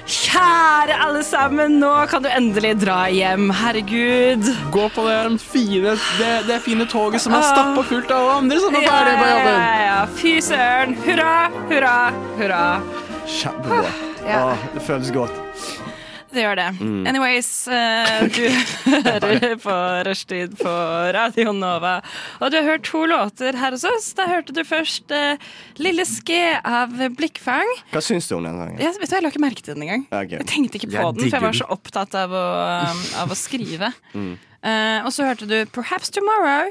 Kjære alle sammen, nå kan du endelig dra hjem. Herregud.
Gå på det fine, det, det fine toget som er stappa fullt av andre som er ferdig på
Ah. Ja,
jobben.
ja, ja. Fy søren. Hurra, hurra, hurra.
Kjempebra.
Ja.
Åh, det føles godt.
Det gjør det. Anyways, eh, du hører på Rushtid på Radio Nova. Og du har hørt to låter her hos oss. Da hørte du først eh, Lille Ske av Blikkfang.
Hva syns du om den sangen?
Jeg, vet du, hva, jeg la ikke merke til den engang.
Ok.
Jeg tenkte ikke
Jeg
på den, for jeg
digger
var så opptatt av å, um, av å skrive. Eh, og så hørte du Perhaps Tomorrow,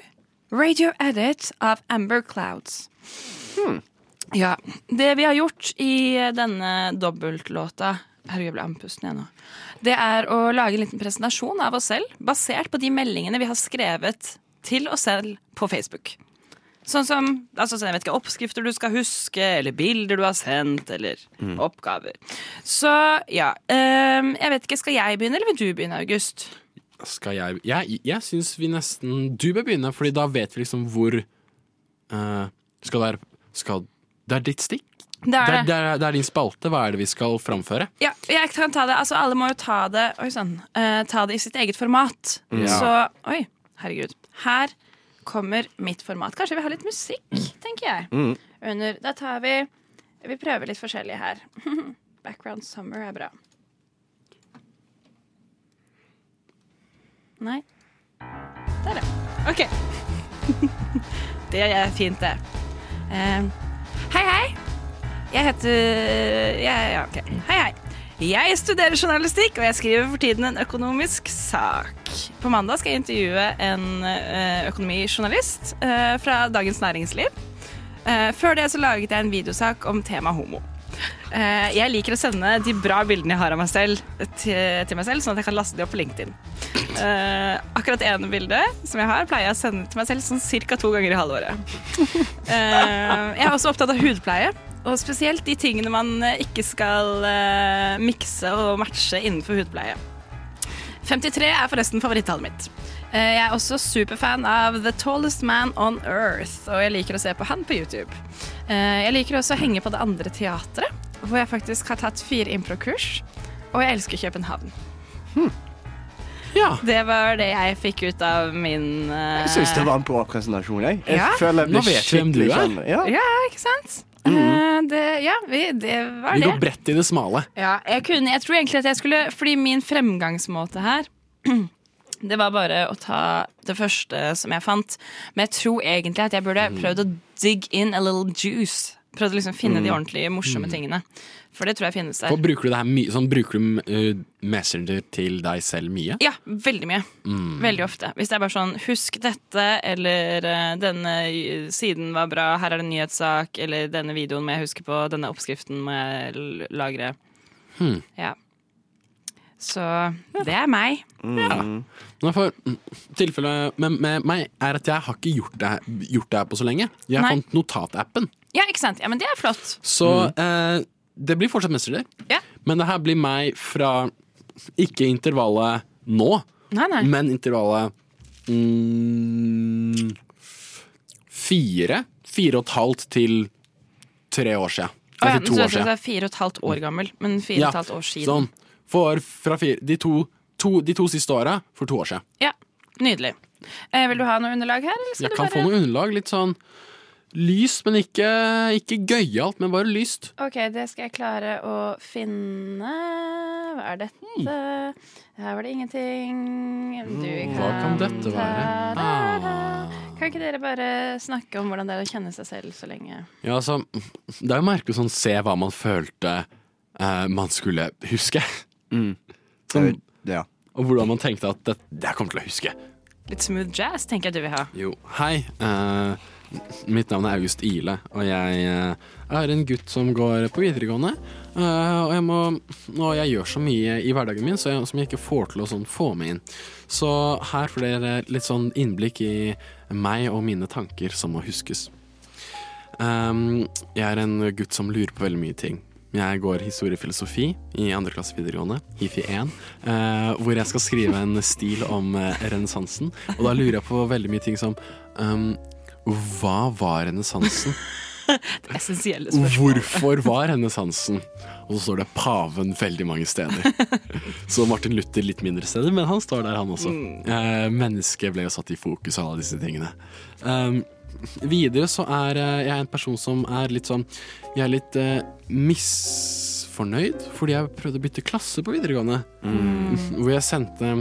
Radio Edit av Amber Clouds. Ja. Det vi har gjort i denne dobbeltlåta Herregud, jeg ble andpusten igjen nå. Det er å lage en liten presentasjon av oss selv, basert på de meldingene vi har skrevet til oss selv på Facebook. Sånn som altså, sånn, jeg vet ikke, oppskrifter du skal huske, eller bilder du har sendt, eller oppgaver. Så ja. ehm, jeg vet ikke, Skal jeg begynne, eller vil du begynne, August?
Skal jeg Jeg, jeg syns vi nesten Du bør begynne, Fordi da vet vi liksom hvor eh, Skal det være skal, Det er ditt stikk?
Det
Det
er
er, det, er, det er din spalte. Hva er det vi skal framføre?
Ja, jeg kan ta det. Altså, alle må jo ta det Oi sann. eh, ta det i sitt eget format. Så Oi, herregud. Her kommer mitt format. Kanskje vi har litt musikk, tenker jeg. Under Da tar vi Vi prøver litt forskjellig her. <laughs> Background summer er bra. Nei. Der, ja. OK. <laughs> det er fint, det. Eh, hei, hei. Jeg heter ja, ja, ok. Hei, hei. Jeg studerer journalistikk, og jeg skriver for tiden en økonomisk sak. På mandag skal jeg intervjue en eh, økonomijournalist eh, fra Dagens Næringsliv. Eh, Før det så laget jeg en videosak om tema homo. Eh, Jeg liker å sende de bra bildene jeg har av meg selv, til til meg selv, sånn at jeg kan laste de opp på LinkedIn. Eh, akkurat ene bildet som jeg har, pleier jeg å sende til meg selv sånn cirka to ganger i halvåret. Eh, jeg er også opptatt av hudpleie, og spesielt de tingene man eh, ikke skal eh, mikse og matche innenfor hudpleie. 53 er forresten favorittallet mitt. Eh, Jeg er også superfan av The Tallest Man on Earth, og jeg liker å se på han på YouTube. Eh, Jeg liker også å henge på det andre teatret, hvor jeg faktisk har tatt fire improkurs, og jeg elsker København.
Ja.
Det var det jeg fikk ut av min eh,
Jeg syns det var en bra presentasjon. Jeg, jeg
Ja.
føler jeg
Nå
blir
vet vi hvem du
skikkelig
er.
kjent. Sånn, Ja.
Ja, ikke sant? Eh, det, ja, vi, det var
Vi
det.
går bredt i det smale.
Ja, jeg, kunne, jeg tror egentlig at jeg skulle Fordi min fremgangsmåte her <clears throat> Det var bare å ta det første som jeg fant Men jeg tror egentlig at jeg burde prøvd å dig in a little juice Prøvd å liksom finne de ordentlige morsomme tingene For det tror jeg finnes
Og
der
bruker du det her mye? Sånn, bruker du eh, Messenger til deg selv mye?
ja, veldig mye.
Mm.
Veldig ofte. Hvis det er bare sånn 'husk dette', eller eh, 'denne siden var bra', 'her er det en nyhetssak', eller 'denne videoen må jeg huske på', 'denne oppskriften må jeg l- lagre'.
Hmm.
Ja. Så det er meg.
Nei, for mm, tilfellet med, med meg er at jeg har ikke gjort det, her- gjort det her på så lenge. Jeg
Nei.
fant notatappen.
Ja, ikke sant? Ja, men det er flott.
Så eh, det blir fortsatt Messenger.
Ja.
Men det her blir meg fra ikke intervallet nå,
Nei, nei.
men intervallet mm, fire. Fire og et halvt til tre år siden.
Å
Eller
ja,
til
men
to
så
år siden.
jeg er fire og et halvt år gammel, men fire og et halvt år siden.
Sånn. For fra fire, de, to, to, de to siste åra for to år siden.
Ja, Nydelig. Eh, vil du ha noe underlag her? Eller skal
Jeg
du
kan
bare...
få noe underlag. Litt sånn lyst, men ikke, ikke gøyalt, men bare lyst.
Ok, det skal jeg klare å finne. Hva er dette? Her var det ingenting. Du
Hva kan
Eh,
dette være?
Ta-da-da. Kan ikke dere bare snakke om hvordan det er å kjenne seg selv så lenge?
Ja, altså, det er jo merkelig å sånn, se hva man følte eh, man skulle huske.
Som,
Som,
ja.
og hvordan man tenkte at det, det kommer til å huske.
Litt smooth jazz tenker jeg du vil ha.
Jo, hei. eh, mitt navn er August Ile, og jeg eh, er en gutt som går på videregående. eh, og jeg må Og jeg gjør så mye i hverdagen min så jeg, som jeg ikke får til å sånn få med inn. Så her får dere litt sånn innblikk i meg og mine tanker som må huskes. Ehm, jeg er en gutt som lurer på veldig mye ting. Jeg går historiefilosofi i andre klasse videregående, hifi 1, eh, hvor jeg skal skrive en stil om eh, renessansen. Og da lurer jeg på veldig mye ting som ehm, Hva var renessansen?
Essensielle spørsmål.
Hvorfor var renessansen? Og så står det paven veldig mange steder. Så Martin Luther litt mindre steder, men han står der, han også. Eh, mennesket ble jo satt i fokus av alle disse tingene. Um, videre så er eh, jeg en person som er litt sånn Jeg er litt eh, misfornøyd fordi jeg prøvde å bytte klasse på videregående. <laughs> Hvor jeg sendte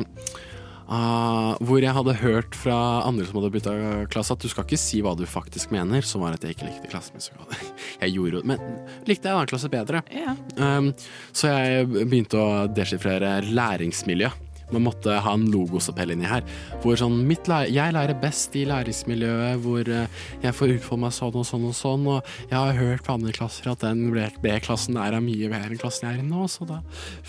Ah, hvor jeg hadde hørt fra andre som hadde bytta klasse, at du skal ikke si hva du faktisk mener, som var at jeg ikke likte klassen min så godt. <laughs> Jeg gjorde det, men likte jeg en annen klasse bedre.
Ja.
Um, så jeg begynte å deskifrere læringsmiljø. Man måtte ha en logosappell inni her. Hvor sånn mitt læ Jeg lærer best i læringsmiljøet hvor eh, jeg får utfolde meg sånn og sånn og sånn, og jeg har hørt på andre klasser at den B-klassen der er mye bedre enn klassen jeg er i nå, så da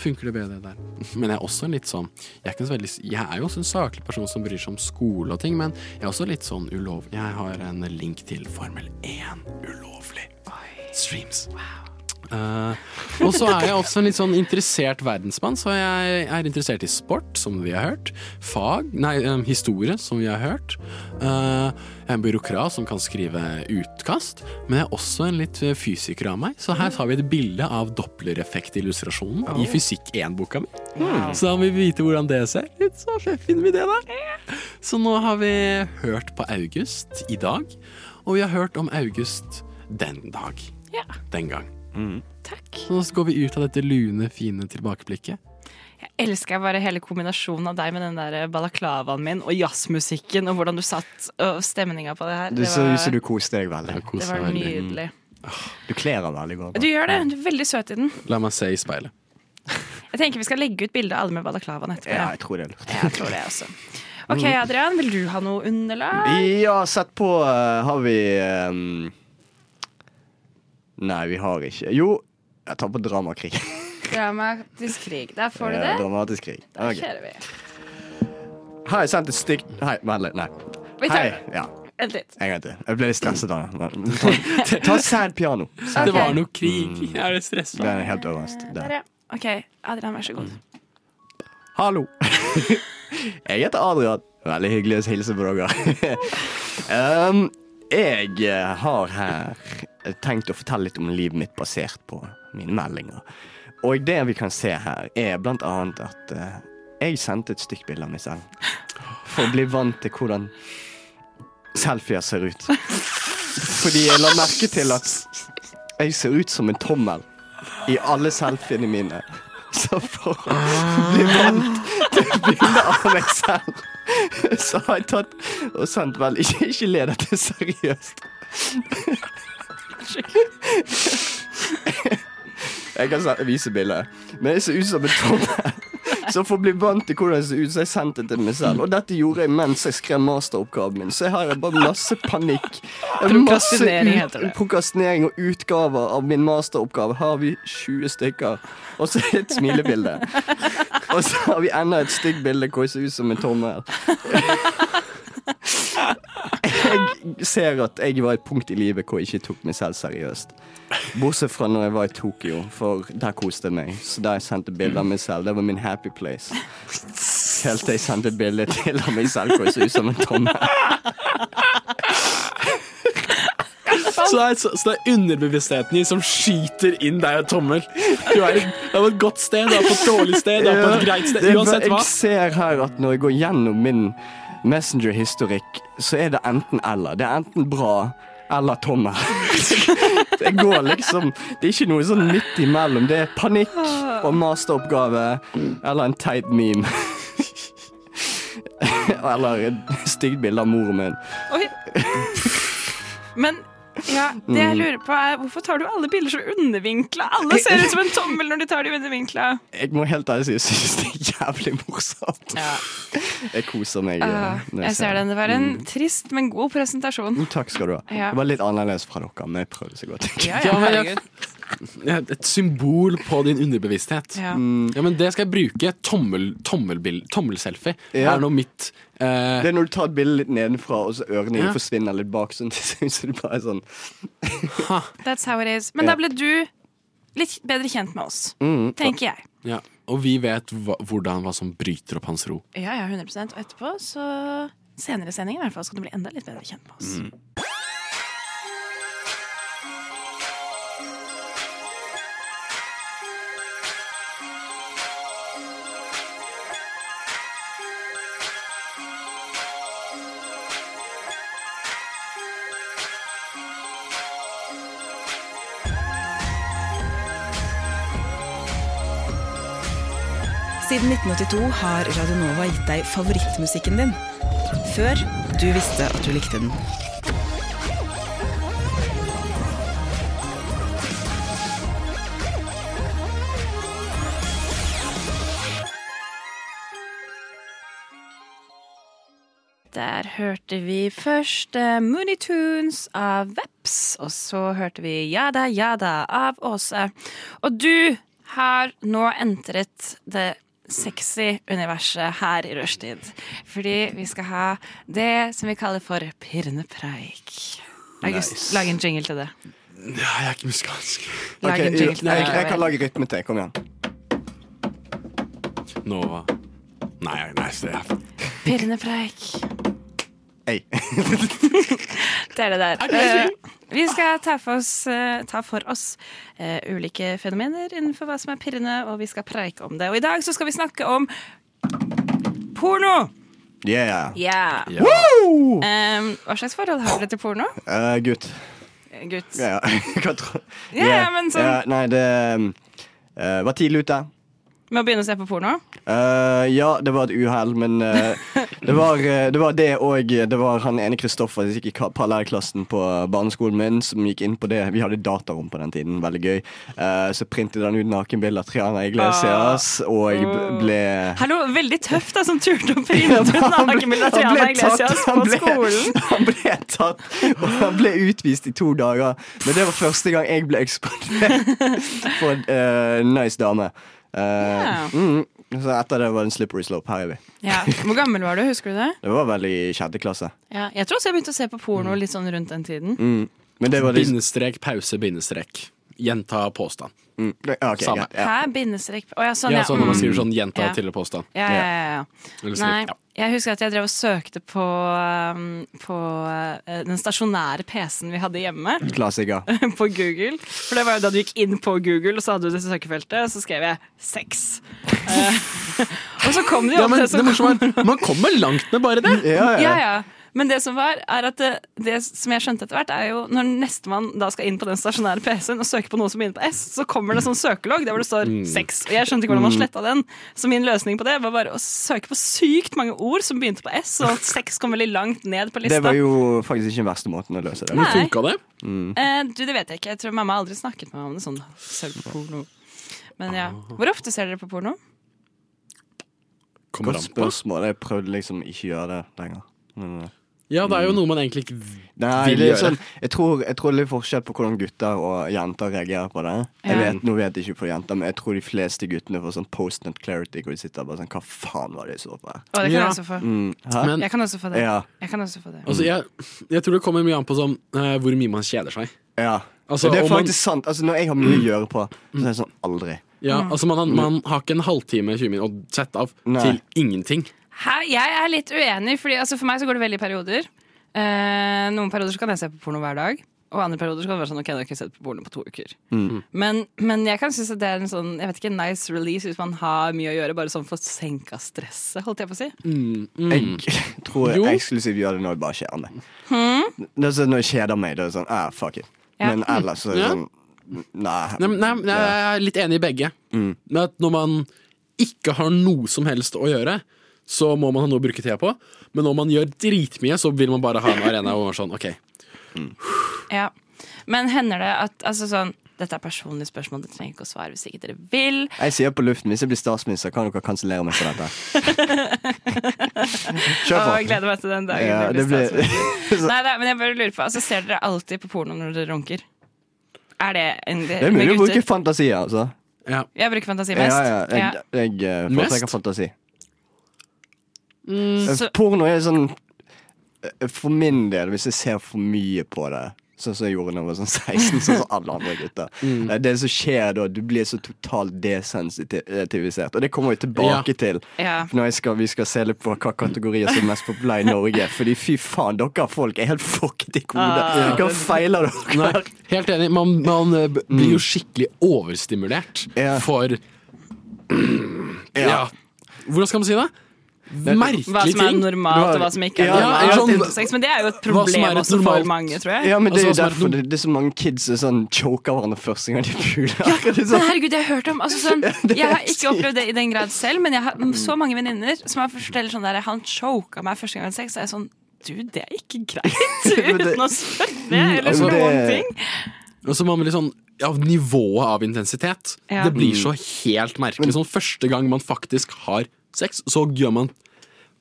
funker det bedre der. <laughs> Men jeg er også en litt sånn Jeg er, ikke så veldig, jeg er jo også en saklig person som bryr seg om skole og ting, men jeg er også litt sånn ulovlig. Jeg har en link til Formel 1 ulovlig. Streams. Eh, og så er jeg også en litt sånn interessert verdensmann, så jeg er interessert i sport, som vi har hørt. Fag Nei, eh, historie, som vi har hørt. Eh, jeg er en byråkrat som kan skrive utkast, men jeg er også en litt fysiker av meg. Så her har vi et bilde av Doppler-effekt-illustrasjonen i Fysikk 1-boka mi. Så da må vi vite hvordan det ser ut, så finner vi det der. Så nå har vi hørt på August i dag, og vi har hørt om August den dag.
Ja.
Den gang.
Takk.
Så nå går vi ut av dette lune, fine tilbakeblikket.
Jeg elsker bare hele kombinasjonen av deg med den der balaklavaen min og jazzmusikken og hvordan du satt og stemninga på det her.
Du
Det
ser ut
var,
som du koser deg veldig.
Jeg koser
det var
meg veldig.
nydelig.
Du kler den veldig godt.
Du gjør det. Du er veldig søt i den.
La meg se i speilet.
Jeg tenker vi skal legge ut bilde av alle med balaklavaen etterpå.
Ja,
Ja.
jeg tror det er lurt.
Jeg tror det også. OK, Adrian, vil du ha noe underlag?
Ja, sett på eh, har vi ehm, Nei, vi har ikke Jo, jeg tar på dramakrig.
Dramatisk krig. Der får du
<laughs> Eh,
det.
Dramatisk krig.
Der
Ok.
kjører vi.
Har jeg sendt et stygt Hei, vent litt. Nei.
Vi tar
Hei.
det.
Ja,
Vent litt.
en gang til. Jeg ble litt stresset av det. Men <laughs> Ta, ta sad piano. Sad
Det var noe krig. Jeg er litt
Det
stressa.
er helt øverst. Der.
Der, ja. OK, Adrian, vær så god.
Hallo. <laughs> jeg heter Adrian. Veldig hyggelig å hilse på dere. <laughs> um, jeg eh, har her tenkt å fortelle litt om livet mitt basert på mine meldinger. Og det vi kan se her, er blant annet at eh, jeg sendte et stygt bilde av meg selv. For å bli vant til hvordan selfier ser ut. Fordi jeg la merke til at jeg ser ut som en tommel i alle selfiene mine. Så for å bli vant til bildet av meg selv, <laughs> så har jeg tatt og sendt vel <laughs> Ikke, ikke le dette seriøst. <laughs> Jeg kan se- vise bildet. Men jeg ser ut som en <laughs> tommel. Så for å bli vant til hvordan jeg ser ut, så har jeg sendt det til meg selv. Og dette gjorde jeg mens jeg skrev masteroppgaven min, så jeg har bare masse panikk. Jeg har masse
Prokrastinering
ut-
heter det.
Prokrastinering og utgaver av min masteroppgave har vi 20 stykker. Og så er det et
<laughs>
smilebilde. Og så har vi enda et stygt bilde hvor jeg ser ut som en tommel. Jeg ser at jeg var et punkt i livet hvor jeg ikke tok meg selv seriøst. Bortsett fra når jeg var i Tokyo, for der koste jeg meg. Så da jeg sendte bilder av meg selv, det var min happy place. Helt til jeg sendte bilde til av meg selv hvor jeg så ut som en tommel.
Så, det er- så, så det er underbevisstheten din som skyter inn deg og tommel. Du er, det er på et godt sted, du er på et dårlig sted, du er på et greit sted.
Det er-
Uansett hva.
Jeg ser her at når jeg går gjennom min Messenger-historikk, så er det enten eller. Det er enten bra eller tommel. <laughs> Det går liksom Det er ikke noe sånn midt imellom. Det er panikk og masteroppgave eller en teit meme. <laughs>
<laughs>
Eller et stygt bilde av moren min.
Oi. Men Ja, det jeg lurer på er, Hvorfor tar du alle bilder så undervinkla? Alle ser ut som en tommel når de tar de undervinkla.
Jeg må helt ærlig si jeg synes det er jævlig morsomt.
Ja.
Jeg koser meg. eh,
Ah,
når
jeg ser den. Det Mm. var en trist, men god presentasjon.
Mm, Takk skal du ha.
Ja.
Det var litt annerledes fra dere, men jeg prøvde så godt.
Ja,
Ja,
ja,
men jeg-
herregud.
Ja, Et symbol på din underbevissthet.
Ja.
Ja, men det skal jeg bruke. Tommel, tommelbild, tommelselfie
Ja.
er nå mitt eh,
Det er når du tar et bilde litt nedenfra, og så ørene dine
Ja.
forsvinner litt bak. Sånn, <laughs> så så det bare er sånn
That's how it is. Men da ble du litt bedre kjent med oss, tenker jeg.
ja. Og vi vet hva, hvordan hva som bryter opp hans ro.
Ja, ja, 100 Og etterpå, så senere i sendingen i hvert fall, skal du bli enda litt bedre kjent med oss.
Siden 1982 har Radionova gitt deg favorittmusikken din. Før du visste at du likte den.
Der hørte vi først eh, Mooney Tunes av Veps, og så hørte vi Jada Jada av Åse. Og du har nå entret det sexy universet her i rushtid. Fordi vi skal ha det som vi kaller for pirrende preik. August, lag en jingle til det.
Ja, jeg er ikke musikalsk.
Lag
Ok,
en jingle
jeg,
til det.
jeg kan lage rytme til. Kom igjen.
Nova. Nei, nei, se her.
Pirrende preik.
Ei.
Det er det der. Eh, vi skal ta for oss, eh, ta for oss eh, ulike fenomener innenfor hva som er pirrende, og vi skal preike om det. Og i dag så skal vi snakke om porno!
<laughs> Yeah.
Ja.
Ja.
Eh, hva slags forhold har dere til porno?
Eh, gutt.
Eh, Gutt.
Ja, <laughs> ja. Hva tror
Ja, men sånn-
Ja, nei, det eh, var tidlig ute.
Med å begynne å se på porno?
Eh, ja, det var et uhell, men eh, det, var, eh, det var det og Det var han ene Kristoffer som gikk i ka- parallellklassen på barneskolen min, som gikk inn på det. Vi hadde datarom på den tiden, veldig gøy. Eh, så printet han ut nakenbilder av Triana Iglesias,
Ah.
og jeg b- ble
Hallo, veldig tøff da, som turte å printe Mm.
<laughs>
ut nakenbilde av Triana Iglesias på skolen.
<laughs> han ble tatt, og han ble utvist i to dager. Men det var første gang jeg ble eksponert for en eh, nice dame. Eh,
Ja.
mm, så etter det var det en slippery slope. Her er vi.
Ja. Hvor gammel var du, husker du det?
Det var vel i sjette klasse.
Ja. Jeg tror også jeg begynte å se på porno litt sånn rundt den tiden.
Mm.
Men det var liksom
Bindestrek, pause, bindestrek. Gjenta påstand.
mm, ja, ok,
Samme.
greit, ja.
Hæ? Bindestrek? Å ja, sånn,
Ja,
ja.
sånn når man
Mm.
skriver sånn gjenta
Ja.
til påstand.
Ja, ja, ja, ja.
Eller
Nei,
slik. Ja.
jeg husker at jeg drev og søkte på, um, på uh, den stasjonære PC-en vi hadde hjemme, <laughs>
Klassiker.
på Google. For det var jo da du gikk inn på Google, og så hadde du det søkefeltet, og så skrev jeg
<laughs>
'sex'. Eh, <laughs> og så kom det jo
Ja,
opp <laughs>
men
det
det
som
morsomme er sånn Man kommer langt med bare det.
Ja,
ja,
ja.
ja. Men det som var, er at det, det som jeg skjønte etter hvert, er jo når nestemann da skal inn på den stasjonære PC-en og søke på noe som begynner på S, så kommer det sånn søkelogg der hvor det
Mm.
står sex. Og jeg skjønte ikke hvordan man sletta den. Så min løsning på det var bare å søke på sykt mange ord som begynte på S, og at sex kom veldig langt ned på lista.
<laughs> Det var jo faktisk ikke den verste måten å løse det
Men
på.
Nei.
funka det?
eh, du, det vet jeg ikke. Jeg tror mamma aldri snakket med meg om det sånn sølvporno. Men ja.
Ah.
Hvor ofte ser dere på porno?
Kommer
Godt
an på.
spørsmål. Jeg prøvde liksom ikke å gjøre det lenger. Men, eh,
Ja, det er jo noe man egentlig ikke
Nei,
Vil
det er
gjøre.
sånn, jeg, tror, jeg tror det er litt forskjell på hvordan gutter og jenter reagerer på det. Jeg
Ja.
vet, nå vet jeg ikke på jenter, men jeg tror de fleste guttene får sånn post-nut clarity hvor de sitter og bare sånn Hva faen var det jeg så på? her?
Å, det kan
Ja.
jeg også få.
Mm, hæ?
Men-
Jeg kan også få det.
ja,
Jeg kan også få det.
Altså, jeg, jeg tror det kommer mye an på sånn, eh, hvor mye man kjeder seg.
ja.
Altså,
det er
om man-
faktisk sant. Altså, når jeg har mye å gjøre på, så er det sånn aldri.
Ja, altså man, har- man har ikke en halvtime 20 minutter å sette av
Nei.
til ingenting.
Her, jeg er litt uenig, fordi altså, for meg så går det veldig i perioder. Eh, noen perioder så kan jeg se på porno hver dag. Og andre perioder så kan det være sånn, ok, da har jeg ikke sett på porno på to uker.
Mm.
Men, men jeg kan synes at det er en sånn, jeg vet ikke, en nice release hvis man har mye å gjøre, bare sånn for å senke stresset, holdt jeg på å si.
Mm. Jeg <laughs> tror
Mm. Jo.
jeg eksklusivt gjør det når jeg bare kjeder meg. Det er sånn, når jeg kjeder meg, da er det sånn ah, fuck it.
Hmm? Ja.
Men ellers så er det
Ja.
sånn Nei.
Nei, men- nei, nei, jeg er litt enig i begge. Men at når man ikke har noe som helst å gjøre, så må man ha noe å bruke tida på. Men når man gjør dritmye, så vil man bare ha en arena hvor man er sånn OK.
Ja. Men hender det at altså sånn, Dette er personlige spørsmål, dere trenger ikke å svare hvis ikke dere vil.
Jeg sier på luften hvis jeg blir statsminister, kan dere kansellere meg for
<laughs>
dette. Kjør
Og
på.
jeg gleder meg til den dagen.
Ja,
jeg
det <laughs> blir-
statsminister. Nei, nei, men jeg bare lurer på altså, Ser dere alltid på porno når dere runker? Er det en
Det er mulig å bruke fantasi, altså.
Ja.
Jeg bruker fantasi
Ja,
mest.
ja.
Ja.
Jeg, jeg eh, foretrekker
Mest?
fantasi.
Mm, så-
Porno er sånn eh, For min del, hvis jeg ser for mye på det Sånn som jeg gjorde da jeg var sånn <laughs> 16, sånn som alle andre gutter.
Mm.
Eh, Det som skjer da, du blir så totalt desensitivisert. Og det kommer vi tilbake til
Ja.
når jeg skal, vi skal se litt på hva kategorier som er mest populære i Norge. Fordi fy faen, dere folk er helt fucket i hodet.
Ah.
Hva feiler dere?
Nei, helt enig. Man, man eh, b- blir jo skikkelig overstimulert
Ja.
for <clears throat> ja. Hvordan skal man si det?
Hva
Merkelige
som er
ting.
normalt, og
Du har-
hva som ikke er
Ja,
ja,
normalt.
sånn-
rundt sex, men det er jo et
Hva som er
problem
et
også
normalt-
for mange, tror jeg.
Ja, men det er jo
Altså, hva som er
derfor det, det er så mange kids som sånn choker hverandre første gang de puler. <laughs> Det er
Men
sånn-
herregud, jeg har hørt om
<laughs>
altså, sånn,
det Mm. er
Jeg har
helt
ikke opplevd det i den grad selv, men jeg har så mange venninner som har forteller sånn der Han choka meg første gang jeg hadde sex, og jeg er sånn Du, det er ikke
<laughs>
greit! <laughs>
Men det-
Uten å spørre eller
altså,
noen
det-
ting.
Og så man blir sånn ja, Nivået av intensitet.
Ja.
Det blir så helt merkelig. Sånn Første gang man faktisk har sex, så gjør man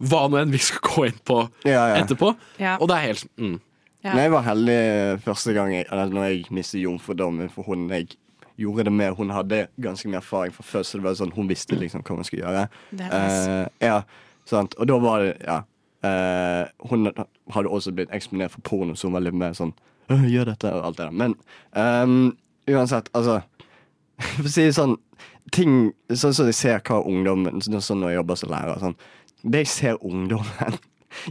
hva nå enn vi skal gå inn på
Ja, ja.
etterpå.
Ja.
Og det er helt mm.
Ja.
Nei, jeg var heldig eh, første gang jeg, eller når jeg mistet jomfrudommen for hun jeg gjorde det med. Hun hadde ganske mye erfaring fra før, så det var sånn, hun visste liksom hva hun skulle gjøre.
Det er nice.
Eh, ja, sant? Og da var det, ja. eh, hun hadde også blitt eksponert for porno, så hun var litt mer sånn, «Åh, gjør dette og alt det der. Men ehm, uansett, altså, for å si det sånn, ting, sånn som jeg ser hva ungdommen, sånn sånn når jeg jobber som lærer, sånn, det jeg ser ungdommen <laughs>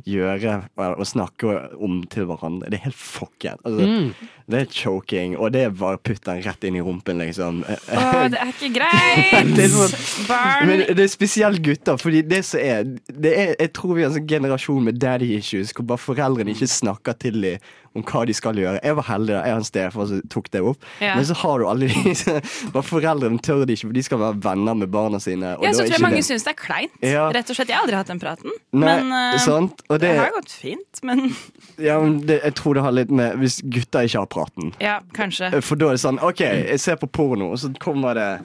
gjøre og og snakke om til hverandre, det er helt fucket. Altså,
Mm.
Det er choking, og det er bare putt den rett inn i rumpen, liksom.
Å, det er ikke greit!
<laughs> Det er sånn-
Barn!
Men det er spesielt gutter, fordi det som er, det er Jeg tror vi er en sånn generasjon med daddy issues hvor bare foreldrene ikke snakker til dem om hva de skal gjøre. Jeg var heldig, da. jeg har en stefar som tok det opp.
Ja.
Men så har du alle de <laughs> Bare foreldrene tør det ikke, for de skal være venner med barna sine. og
Jeg
da er
så tror
ikke
jeg mange
det-
syns det er kleint.
Ja.
Rett og slett, Jeg har aldri hatt den praten.
Nei,
men eh,
sant? Og
det
det,
har gått fint. Men
ja, men det, jeg tror det har litt med Hvis gutter ikke har praten.
ja, kanskje.
For da er det sånn OK, jeg ser på porno, og så kommer det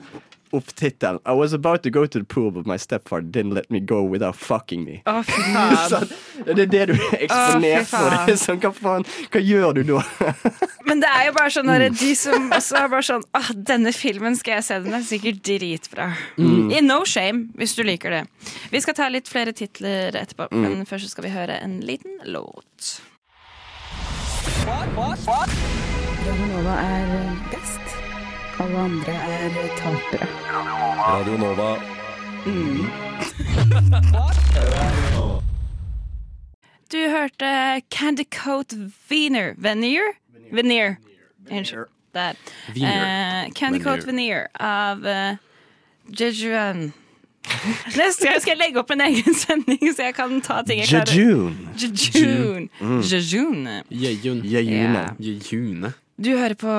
opp tittelen. I was about to go to the pool, but my stepfather didn't let me go without fucking me.
Å, fy faen.
Sånn, det er det du er
Å, fy
eksponert for.
faen.
Det er sånn, hva faen, hva gjør du da?
Men det er jo bare sånn der, de som også er bare sånn Åh, denne filmen skal jeg se, den er sikkert dritbra. I no shame, hvis du liker det. Vi skal ta litt flere titler etterpå, men først så skal vi høre en liten låt.
Radionova er eh, best. Alle andre er eh, tapere.
Radio Nova.
Du hørte Candy Coat Veneer. Veneer? Veneer. Unnskyld. Der.
Veneer.
Eh, Candy Coat Veneer av uh, Jejuan. Neste gang skal jeg legge opp en egen sending, så jeg kan ta ting jeg klarer.
Jejun.
Jejun. Jejun.
Jejun.
Ja.
Jejune.
Jejune.
Du hører på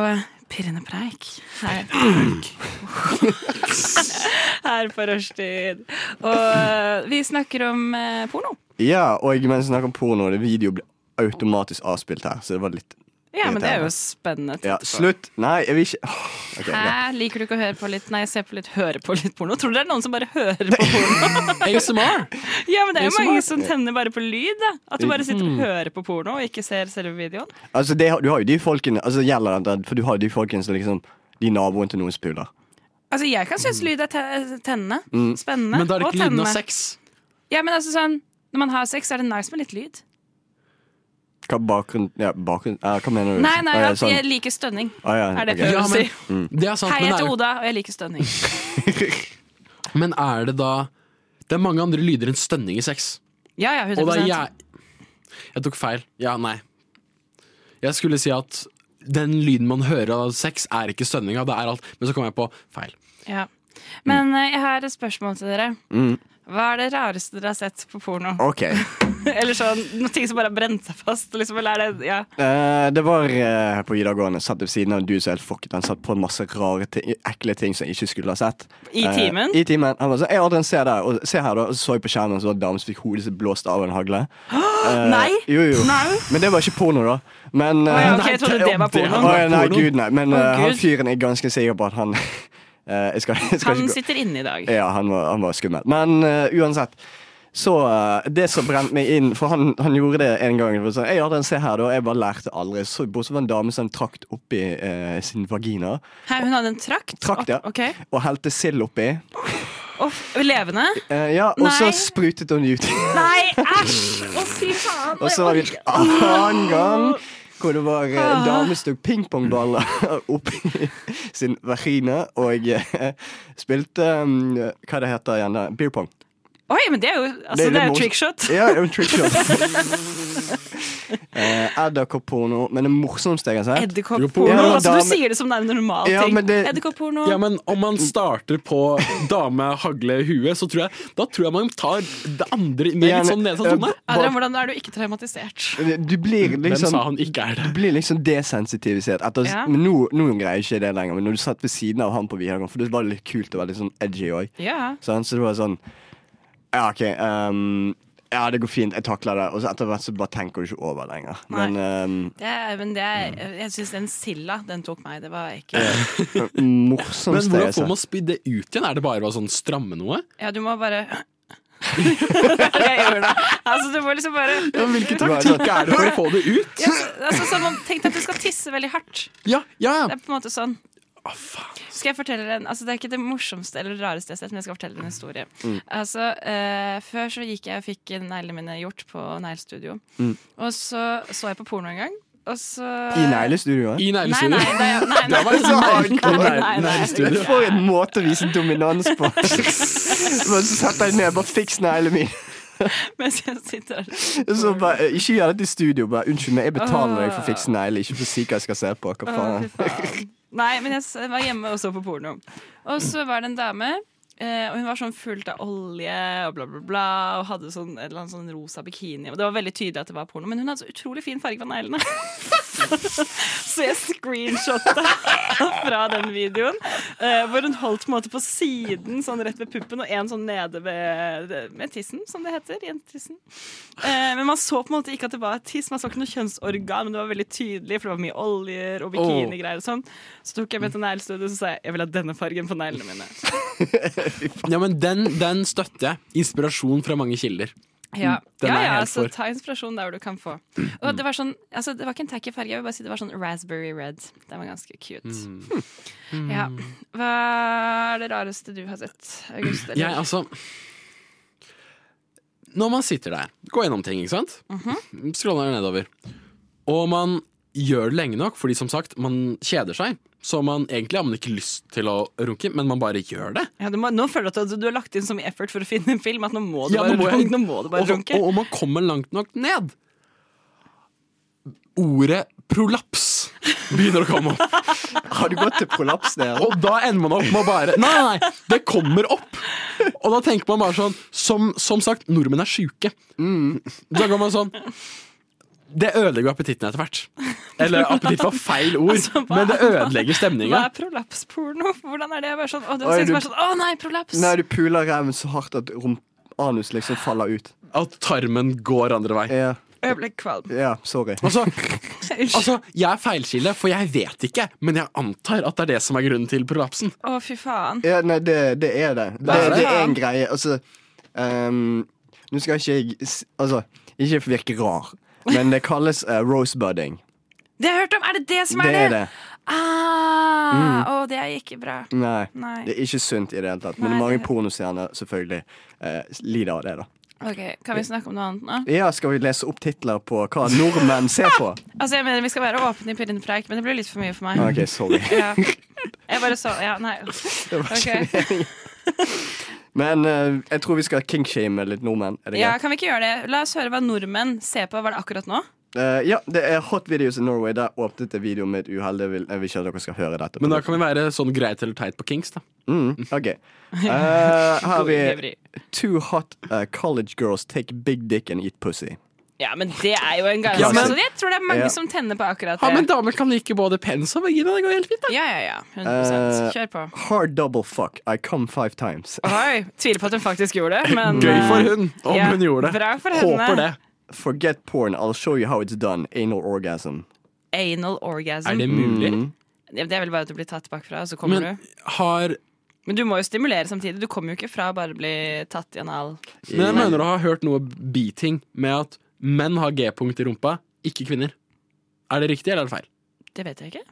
Pirrende preik her, <laughs> her på rushtid. Og eh, vi snakker om eh, porno.
Ja, og mens vi snakker om porno, det video ble automatisk avspilt her, så det var litt
Ja, men det er jo spennende.
ja,
etterpå.
Slutt! Nei, jeg vil ikke Åh, ok, greit.
Hæ, liker du ikke å høre på litt Nei, se på litt, høre på litt porno? Tror du det er noen som bare hører på porno?
<laughs> ASMR!
<laughs> ja, men det er jo
Det er
mange som tenner bare på lyd, da. At du bare sitter
Mm.
og hører på porno og ikke ser selve videoen.
Altså, det, har- du har jo de folkene Altså, gjelder det For du har jo de folkene som liksom De naboen til noen spuler.
Altså, jeg kan synes lyd er te- tennende. Spennende.
Mm. Men da er det
og
ikke lyden av
tennende.
sex.
Ja, men altså sånn når man har sex, så er det nice med litt lyd.
Hva bakgrunn Ja, bakgrunn ja, Hva mener du?
Nei, nei,
Å, ja,
at
sånn.
jeg liker stønning.
Å, ja,
Er det
ok.
prøver
Ja,
å
men-
si.
Det er sant,
Hei,
men det er
jeg heter
jo-
Oda, og jeg liker stønning.
men er det da Det er mange andre lyder enn stønning i sex.
Ja, ja, 100
Og da jeg Jeg tok feil. Ja, nei. Jeg skulle si at den lyden man hører av sex, er ikke stønninga. Det er alt. Men så kom jeg på feil.
Ja. Men eh, jeg har et spørsmål til dere.
Mm.
Hva er det rareste dere har sett på porno?
OK.
<laughs> Eller sånn noen ting som bare har brent seg fast? Liksom, eller er det, ja.
Eh, det var eh, på videregående. Satt ved siden av en dude som helt fucket. Han satt på en masse rare ting, ekle ting som jeg ikke skulle ha sett.
I
Eh,
timen?
I timen. Han var sånn «Ei, Adrian, se der. Og se her, da. Og så så jeg på skjermen, så var det en dame som fikk hodet sitt blåst av en
<gasps>
hagle. Eh,
Nei!
Jo, jo.
Nei.
Men det var ikke porno, da. Men eh,
ja, ok, jeg trodde det var porno.
Å, ja, nei, gud, nei. Men
Å,
eh, han
Gud.
fyren er ganske sikker på at han <laughs> Eh, jeg skal, jeg skal
Han
ikke gå-
sitter inne i dag.
ja, han var, han var skummel. Men eh, uansett. Så eh, Det som brente meg inn For han, han gjorde det en gang. For sånn, jeg hadde en se her da, Jeg bare lærte aldri. Så bortsett fra en dame som trakk oppi eh, sin vagina.
Her, hun hadde en trakt?
Trakt, ja.
Opp- ok.
Og helte sild oppi.
Off, levende?
Eh, ja, og
Nei.
så sprutet hun det ut.
Nei, æsj! Å, fy faen.
og så var det en annen gang hvor det var eh, en dame som tok pingpongballer <laughs> oppi sin vagina og eh, spilte um, Hva det heter igjen? da? Beer pong.
Oi, men det er jo, altså, det
litt
er jo
morsomt.
trickshot.
Ja, det er jo
<laughs>
trickshot. eh, Edderkopp-porno. Men det morsomste jeg har sett
Edderkopp-porno.
Ja, men
altså,
da-
du sier det som det er en normal
Ja,
ting.
men det-
Edderkopp-porno.
Ja, men om man starter på dame, hagle, hue, så tror jeg Da tror jeg man tar det andre med litt sånn nedsatt tone.
Adrian, hvordan er du ikke traumatisert?
Du blir
Hvem
liksom
sa han ikke er det?
du blir liksom desensitivisert. Etter,
Ja.
men nå, nå greier jeg ikke det lenger, men når du satt ved siden av han på videregående, for det var litt kult og veldig sånn edgy òg.
Ja.
Sånn, så det var sånn Ja, OK. ehm, ja, det går fint. Jeg takler det. Og så etter hvert så bare tenker du ikke over lenger.
Nei.
Men ehm,
Det er, men det er,
Mm.
jeg syns den silda, den tok meg. Det var ikke
Men
morsomste
hvordan får
jeg har
man spydd det ut igjen? Er det bare å sånn stramme noe?
Ja, du må bare <laughs> Jeg gjør det. Altså, du må liksom bare
Hvilken
Taktikk er det <laughs> for å få det ut?
ja, altså, sånn, man Tenk deg at du skal tisse veldig hardt.
Ja, ja,
Det
ja.
er på en måte sånn.
Å, faen.
Skal jeg fortelle dere en altså, Det er ikke det morsomste eller rareste jeg har sett, men jeg skal fortelle dere en historie.
Mm.
Altså, eh, før så gikk jeg og fikk neglene mine gjort på neglestudio. Og så så jeg på porno en gang, og så
I neglestudioet.
Mm. I
Nei, nei,
neglestudio.
det, nei, nei,
Det var liksom hardcore
nei, nei, nei.
neglestudio.
<laughs> For en måte å vise dominans <laughs> på! Men så setter jeg ned bare fiks neglene mine.
Mens jeg sitter der.
Så bare, eh, ikke gjør dette i studio. Bare, unnskyld meg, jeg betaler deg for å fikse negler. Ikke for å si hva jeg skal se på. Hva
Å,
faen?
fy faen. Nei, men jeg s- var hjemme og så på porno. Og så var det en dame, eh, og hun var sånn fullt av olje og bla, bla, bla. Og hadde sånn, et eller annet sånn rosa bikini. Og det var veldig tydelig at det var porno, men hun hadde så utrolig fin farge på neglene. <laughs> så jeg screenshotta <laughs> fra den videoen, eh, hvor hun holdt på, en måte på siden, sånn rett ved puppen, og en sånn nede ved med tissen, som det heter. Jentetissen. Eh, men man så på en måte ikke at det var tiss, man så ikke noe kjønnsorgan, men det var veldig tydelig, for det var mye oljer og bikinigreier og sånn. Så tok jeg med til neglestudio og så sa jeg, jeg vil ha denne fargen på neglene mine.
Ja, men den, den støtter jeg. Inspirasjon fra mange kilder.
Ja,
Mm, Den
ja,
er jeg
ja
helt
altså,
for.
ta inspirasjon der hvor du kan få. Og det var sånn, altså, det var ikke en tacky farge, jeg vil bare si det var sånn raspberry red. Den var ganske cute.
Mm.
Hm. Ja. Hva er det rareste du har sett, August? eller?
Jeg, altså Når man sitter der, går gjennom ting, ikke sant? Scroller nedover. Og man gjør det lenge nok, fordi som sagt, man kjeder seg. Så man egentlig har man ikke lyst til å runke, men man bare gjør det.
Ja, du må, nå føler du at du, du har lagt inn så mye effort for å finne en film at nå må du
Ja, <laughs>
bare,
nå må jeg-
nå må du bare
og,
runke.
og, og man kommer langt nok ned. Ordet prolaps begynner å komme opp.
Har du gått til prolaps der?
Og da ender man opp med å bare Nei, nei, nei, det kommer opp! Og da tenker man bare sånn Som, som sagt, nordmenn er sjuke. Da går man sånn Det ødelegger jo appetitten etter hvert. Eller appetitt var feil ord,
Altså, hva-
men det ødelegger stemninga.
Hva er prolapsporno? Hvordan er det? Jeg bare sånn, å, du
Oi,
sier
du-
bare sånn, å nei, prolaps!
Nei, du puler ræven så hardt at rump anus liksom faller ut.
At tarmen går andre vei.
Ja,
Jeg ble kvalm.
ja sorry.
Altså,
Unnskyld.
altså, jeg er feilkilde, for jeg vet ikke, men jeg antar at det er det som er grunnen til prolapsen.
Å, fy faen.
Ja, nei, det, det er det. Det,
er det.
det er en greie. Altså ehm, Nå skal ikke jeg s- Altså, ikke virke rar, men det kalles eh, rosebudding.
Det har jeg hørt om! Er det det som er
Det
det?
er det.
Ah,
Mm.
Å, det er ikke bra.
Nei.
Nei.
Det er ikke sunt i det hele tatt.
Nei,
Men mange
det-
pornostjerner selvfølgelig eh, lider av det, da.
Ok, Kan vi snakke om noe annet nå?
Ja, skal vi lese opp titler på hva nordmenn ser på? Ah,
Altså, jeg mener Vi skal være åpne i Pirinpreik, men det blir litt for mye for meg.
OK, sorry.
Ja. Jeg bare så Ja,
<laughs>
nei. Ok.
Men eh, jeg tror vi skal kinkshame litt nordmenn. Er det
Ja,
greit?
kan vi ikke gjøre det? La oss høre hva nordmenn ser på. Var det akkurat nå?
Eh, ja, det er Hot Videos in Norway. Der åpnet jeg videoen med et uhell. Jeg vil, jeg vil ikke at dere skal høre dette.
Men da kan vi være sånn greit eller teit på Kings, da.
Mm, ok. Eh, her har
<laughs>
vi Two hot eh, college girls take big dick and eat pussy.
Ja, men det er jo en
Ja,
garanse.
men-
så jeg tror det er mange
Ja.
som tenner på akkurat
Ja, men
det.
damer kan like både pens og vagina. Det går helt fint, da.
Ja, ja, ja. 100
Eh,
Kjør på.
Hard double fuck. I come five times.
Oi, tviler på at hun faktisk gjorde det, men
Gøy for
eh,
hun, om
ja,
hun gjorde det.
Bra for henne.
Håper det.
Forget porn. I'll show you how it's done. Anal orgasm.
Anal orgasm.
Er det
Ja,
mulig?
Det... er vel bare at du blir tatt bakfra, og så kommer
Men
du.
har
Men du må jo stimulere samtidig. Du kommer jo ikke fra å bare bli tatt i anal.
Men jeg mener å ha hørt noe beating med at menn har G-punkt i rumpa, ikke kvinner. Er det riktig, eller er det feil?
Det vet jeg ikke.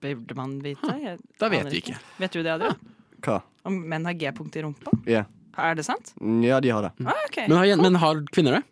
Det burde man vite. Jeg
Da vet
aner
vi ikke.
Vet du det, Adrian?
Hva?
Om menn har G-punkt i rumpa?
Ja.
Er det sant?
Mm, Ja, de har det.
Ah, ok.
Men har, men har kvinner det?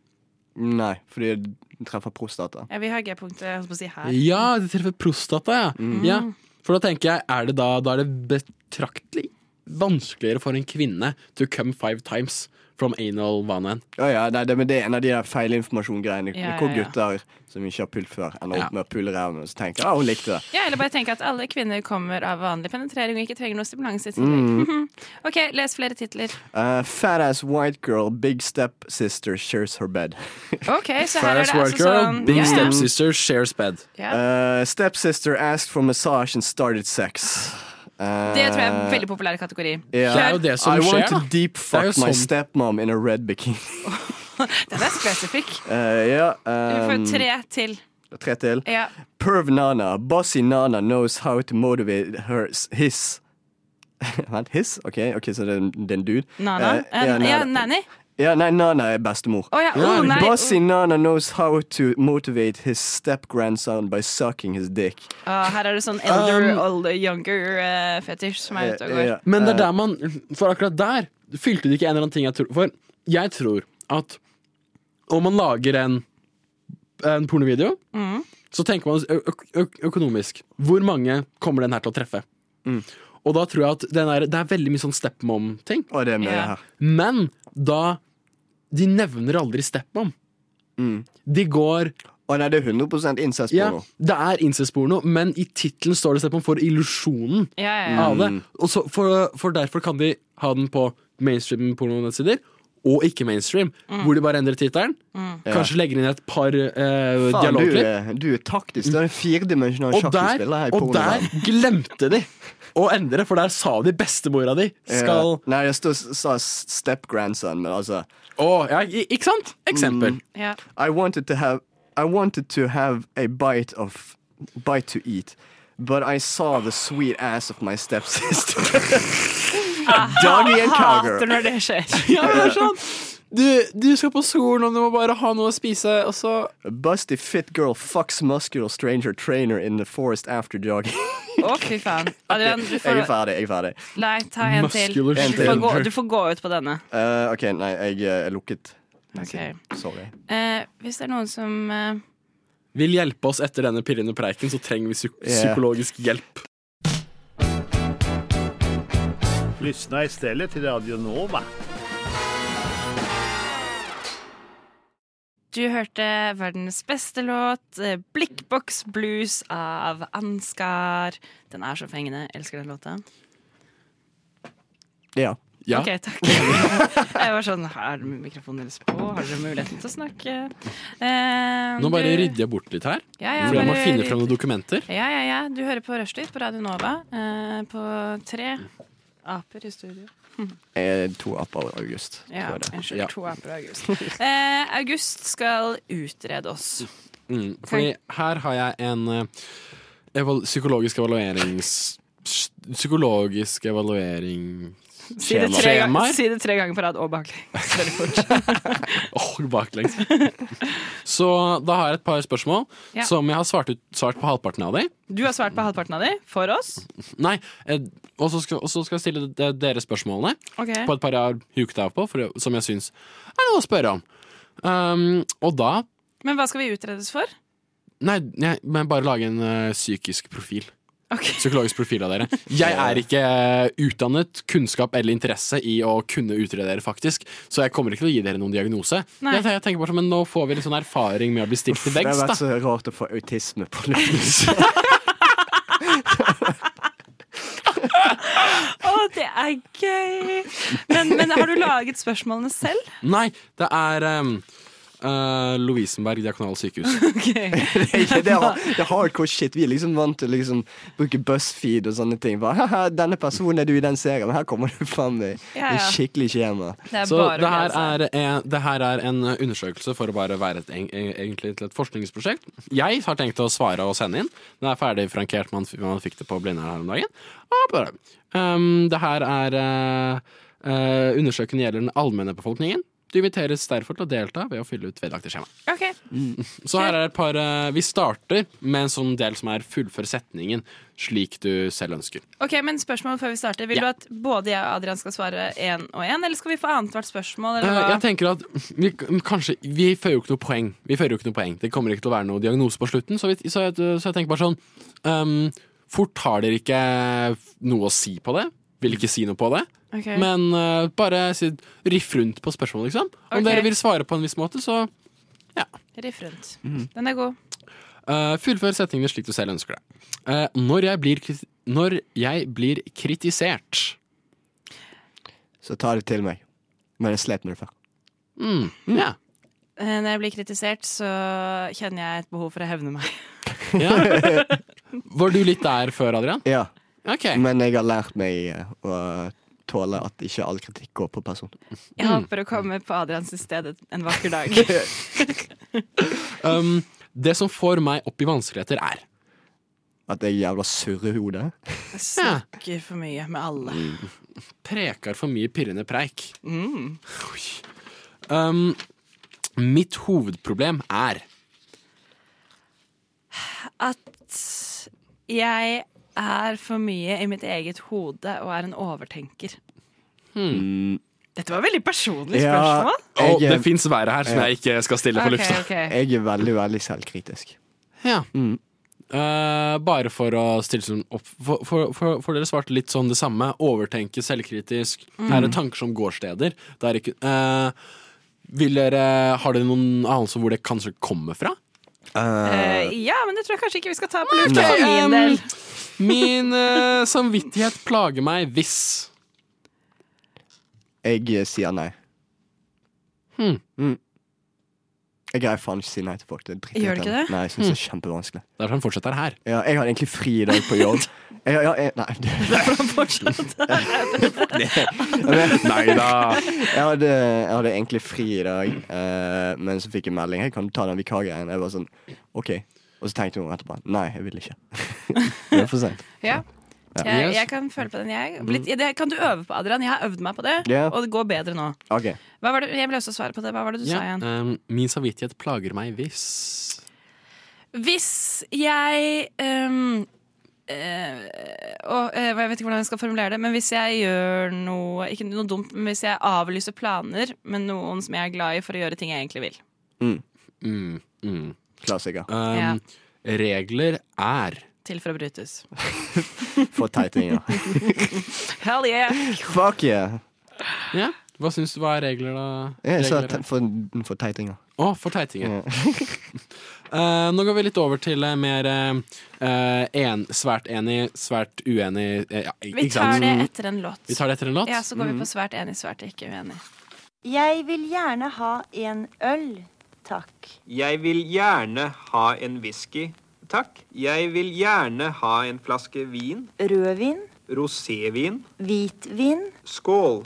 Nei, fordi de treffer prostata.
Ja, vi har G-punktet jeg holdt på å si her.
Ja, det treffer prostata, ja. ja. For da tenker jeg, er det da, da er det betraktelig vanskeligere for en kvinne to come five times from anal vanaen.
Å ja, nei, det, men det er en av de der feilinformasjongreiene
Ja,
hvor
ja, ja.
gutter som ikke har pult før, ender
Ja.
opp med å pule ræven og så tenker jeg, ah, hun likte det.
Ja, eller bare tenke at alle kvinner kommer av vanlig penetrering og ikke trenger noe stimulans i tillegg.
Mm.
Mhm. Ok, les flere titler.
Uh, fat ass white girl, big step sister shares her bed.
Ok, så her er det
Fast
altså
work girl,
sånn
big
ja, ja.
stepsister, shares bed.
<laughs>
Ja.
Uh, stepsister asked for massage and started sex. Uh,
Det tror jeg er en veldig populær kategori.
yeah.
Det er jo det som
I
skjer,
want to
da.
deep
Det
fuck
er jo
my
sånn.
stepmom in a red bikini.
Den er spesifikk.
Uh, ja,
Du får
um,
tre til.
tre til.
Ja.
Perv Nana, bossy Nana knows how to motivate her his <laughs> Vent, his? Ok, ok, så det er en, det er en dude.
Nana?
Eh,
ja,
Nana.
ja, nanny?
Ja, nei, Nana er bestemor.
Å ja, oh, nei.
Bossy Nana knows how to motivate his step grandson by sucking his dick.
Ah, her er det sånn elder, older, younger uh, fetisj som er ute og går.
Ja,
Men det
Um, eh,
er der man For akkurat der fylte det ikke en eller annen ting jeg tror For jeg tror at om man lager en, en pornovideo, så tenker man ø ø ø- økonomisk. Hvor mange kommer den her til å treffe? Og da tror jeg at den er, det er veldig mye sånn stepmom-ting.
Å, det er med
Ja.
her.
Men da De nevner aldri stepmom. De går
Å nei, det er
Ja,
100 incestporno.
det er incestporno, men i tittelen står det stepmom for illusjonen
Ja, ja, ja.
av det. Og så for, for derfor kan de ha den på mainstream pornonettsider. Og ikke mainstream,
Mm.
hvor de bare endrer tittelen. Kanskje legger inn et par eh,
Faen, du,
dialogklipp.
er- du er taktisk. Det er en firedimensjonal
Og
sjakk du
der,
spiller her i
og der
pornoverden.
glemte de å endre, for der sa de bestemora di skal
Ja. Eh, Nei, jeg stod, sa step grandson, men altså
Å, ja, i- ikke sant?
Mm.
Eksempel.
Ja.
I wanted to have I wanted to have a bite of bite to eat, but I saw the sweet ass of my stepsister. Doggy and
Hater
cowgirl.
når det
<laughs>
skjer.
Ja, det er sånn. Du, du skal på skolen, og du må bare ha noe å spise, og så
A busty fit girl fucks muscular stranger trainer in the forest after jogging.
Å, fy faen. Adrian, du
jeg er
får
ferdig. jeg er ferdig
Nei, ta en til. Du
Muscular
får, gå,
stranger.
du får gå ut på denne.
Eh, OK, nei, jeg eh, er lukket.
Ok.
Sorry.
Eh, hvis det er noen som eh,
vil hjelpe oss etter denne pirrende preiken, så trenger vi psyk
Ja.
psykologisk hjelp.
Lyssna istället till Radio Nova.
Du hørte verdens beste låt, eh, 'Blikkboks Blues' av Ansgar. Den er så fengende. Elsker den låta.
Ja.
Ja.
Ok, takk. <laughs> Jeg var sånn Har dere mikrofonen deres på? Har dere muligheten til å snakke? Eh,
Nå bare
du-
rydder jeg bort litt her.
Ja, ja,
For jeg må
bare
finne
rydd.
frem noen dokumenter.
Ja, ja, ja. Du hører på Rushtid på Radio Nova eh, på tre aper i studio.
Eh, to apper i august. tror
Ja,
jeg det.
unnskyld.
Ja.
To aper i august. <laughs> Eh, august skal utrede oss.
Mm, fordi her har jeg en eh, evalu psykologisk evaluerings... s- Psykologisk evaluering
Si det, tre,
Skjemaer.
gang- si det tre ganger på rad og bak. Veldig fort.
Åh, baklengs. <laughs> Så da har jeg et par spørsmål
Ja.
som jeg har svart, ut, svart på halvparten av de.
<laughs> Du har svart på halvparten av de for oss.
Nei, eh, og så skal, og så skal jeg stille de- dere spørsmålene
Ok.
på et par jeg har huket av på, for, som jeg syns er noe å spørre om. Um, og da
Men hva skal vi utredes for?
Nei, nei, men bare lage en eh, psykisk profil.
Ok. <laughs>
Psykologisk profil av dere. Jeg er ikke eh, utdannet, kunnskap eller interesse i å kunne utrede dere, faktisk. Så jeg kommer ikke til å gi dere noen diagnose.
Nei.
Jeg, jeg tenker bare sånn, Men nå får vi litt sånn erfaring med å bli stilt til
Det har
veggs,
vært
da.
så rart å få autisme på luften.
Å, det er gøy! Men, men har du laget spørsmålene <laughs> selv?
Nei, det er um, eh, Lovisenberg diakonale sykehus.
Det er ikke- det er det
<laughs>
er hardcore shit. Vi er liksom vant til å liksom bruke BuzzFeed og sånne ting. Bare, Haha, 'Denne personen er du i den serien', men her kommer du fram i,
Ja,
i
ja.
skikkelig skjema.
Det er
Så
bare
det
å
her,
glede seg.
er en, det her er en eh, undersøkelse for å bare være et, eng- eng- egentlig til et forskningsprosjekt. Jeg har tenkt å svare og sende inn. Den er ferdig frankert, man, f- man fikk det på Blindern her om dagen. Og bare, um, det her er eh, eh, Undersøkelsen gjelder den allmenne befolkningen. Du inviteres derfor til å delta ved å fylle ut vedlagte skjema.
Ok.
Så her er et par eh, Vi starter med en sånn del som er fullfør setningen slik du selv ønsker.
Ok, men spørsmål før vi starter. Vil
Ja.
du at både jeg og Adrian skal svare én og én, eller skal vi få annethvert spørsmål? Eller
Eh,
hva?
jeg tenker at vi, kanskje, vi fører jo ikke noe poeng. Vi fører jo ikke noe poeng. Det kommer ikke til å være noe diagnose på slutten. Så, vi, så, jeg, så jeg tenker bare sånn ehm, Fort har dere ikke noe å si på det. Vil ikke si noe på det.
Ok.
Men eh, bare si, riff rundt på spørsmålet, liksom. Om
Ok.
dere vil svare på en viss måte, så
Riff rundt. Den er god.
Eh, fullfør setningene slik du selv ønsker det. Eh, når, jeg blir, kris- når jeg blir kritisert
Så ta det til meg. Men jeg slet med det før.
mm, ja.
Eh, Når jeg blir kritisert, så kjenner jeg et behov for å hevne meg.
ja. Var du litt der før, Adrian?
Ja,
Ok.
Men jeg har lært meg eh, å tåle at ikke all kritikk går på person.
Jeg håper å komme på Adrians sted en vakker dag.
Um, det som får meg opp i vanskeligheter, er
At jeg er jævla surrehode.
Jeg snakker for mye med alle.
Preker for mye pirrende preik.
Mm.
Oi. Um, mitt hovedproblem er
At jeg er for mye i mitt eget hode og er en overtenker. Mm. Dette var et veldig personlig
Ja,
spørsmål.
Å,
jeg, eh,
Det
er-
fins verre her som jeg ikke skal stille på
Ok,
lufta.
ok.
jeg er veldig, veldig selvkritisk.
Ja.
Mm.
Eh, bare for å stille sånn opp for, for, for, for dere svarte litt sånn det samme. Overtenke, selvkritisk. Her
Mm.
er tanker som går steder. Det er ikke eh, vil dere, Har dere noen anelse om hvor det kanskje kommer fra?
Eh, ja, men det tror jeg kanskje ikke vi skal ta på lufta
Ok,
for min
um,
del.
Min eh, samvittighet plager meg hvis
Jeg eh, sier nei.
Hmm.
Mm. Jeg greier faen ikke å si nei til folk. Det er dritt-
Gjør du ikke det?
Nei, jeg synes det
Hmm.
er kjempevanskelig.
Derfor han sånn fortsetter her.
Ja, jeg har egentlig fri i dag på
<laughs>
jobb. Jeg, ja, jeg, nei, det, <laughs>
Nei da.
jeg, hadde, jeg hadde egentlig fri i dag, eh, men så fikk jeg melding. Hei, kan du ta den vikargreien? Jeg var sånn, ok. Og så tenkte hun etterpå. Nei, jeg vil ikke. <laughs> det er for sent.
Ja.
Yes.
Jeg, jeg kan føle på den, jeg. Litt, det kan du øve på, Adrian. Jeg har øvd meg på det,
Ja.
og det går bedre nå.
Ok.
Hva var det, jeg vil også svare på det. Hva var det du
Ja,
sa igjen?
ehm, min samvittighet plager meg hvis
Hvis jeg ehm, eh, og, eh, Jeg vet ikke hvordan jeg skal formulere det, men hvis jeg gjør noe Ikke noe dumt, men hvis jeg avlyser planer med noen som jeg er glad i, for å gjøre ting jeg egentlig vil.
mm, mm.
Klassiker.
Ehm, Regler er
Til for å brytes.
For
<laughs>
teiting, ja.
Hell
<laughs>
yeah!
Fuck yeah.
Ja, Hva syns du hva er regler, da?
Jeg sa
Regler er-
te for, for teiting, ja.
Å, for teitinger. <laughs> Eh, nå går vi litt over til eh, mer eh, en, svært enig, svært uenig eh, ja,
Vi
ikke
tar
sant?
Mm.
det etter en låt.
Vi tar det etter en låt. Mm.
Ja, så går vi på svært enig, svært ikke uenig.
Jeg vil gjerne ha en øl, takk.
Jeg vil gjerne ha en whisky, takk. Jeg vil gjerne ha en flaske vin.
Rødvin,
Rosévin.
hvitvin.
Skål.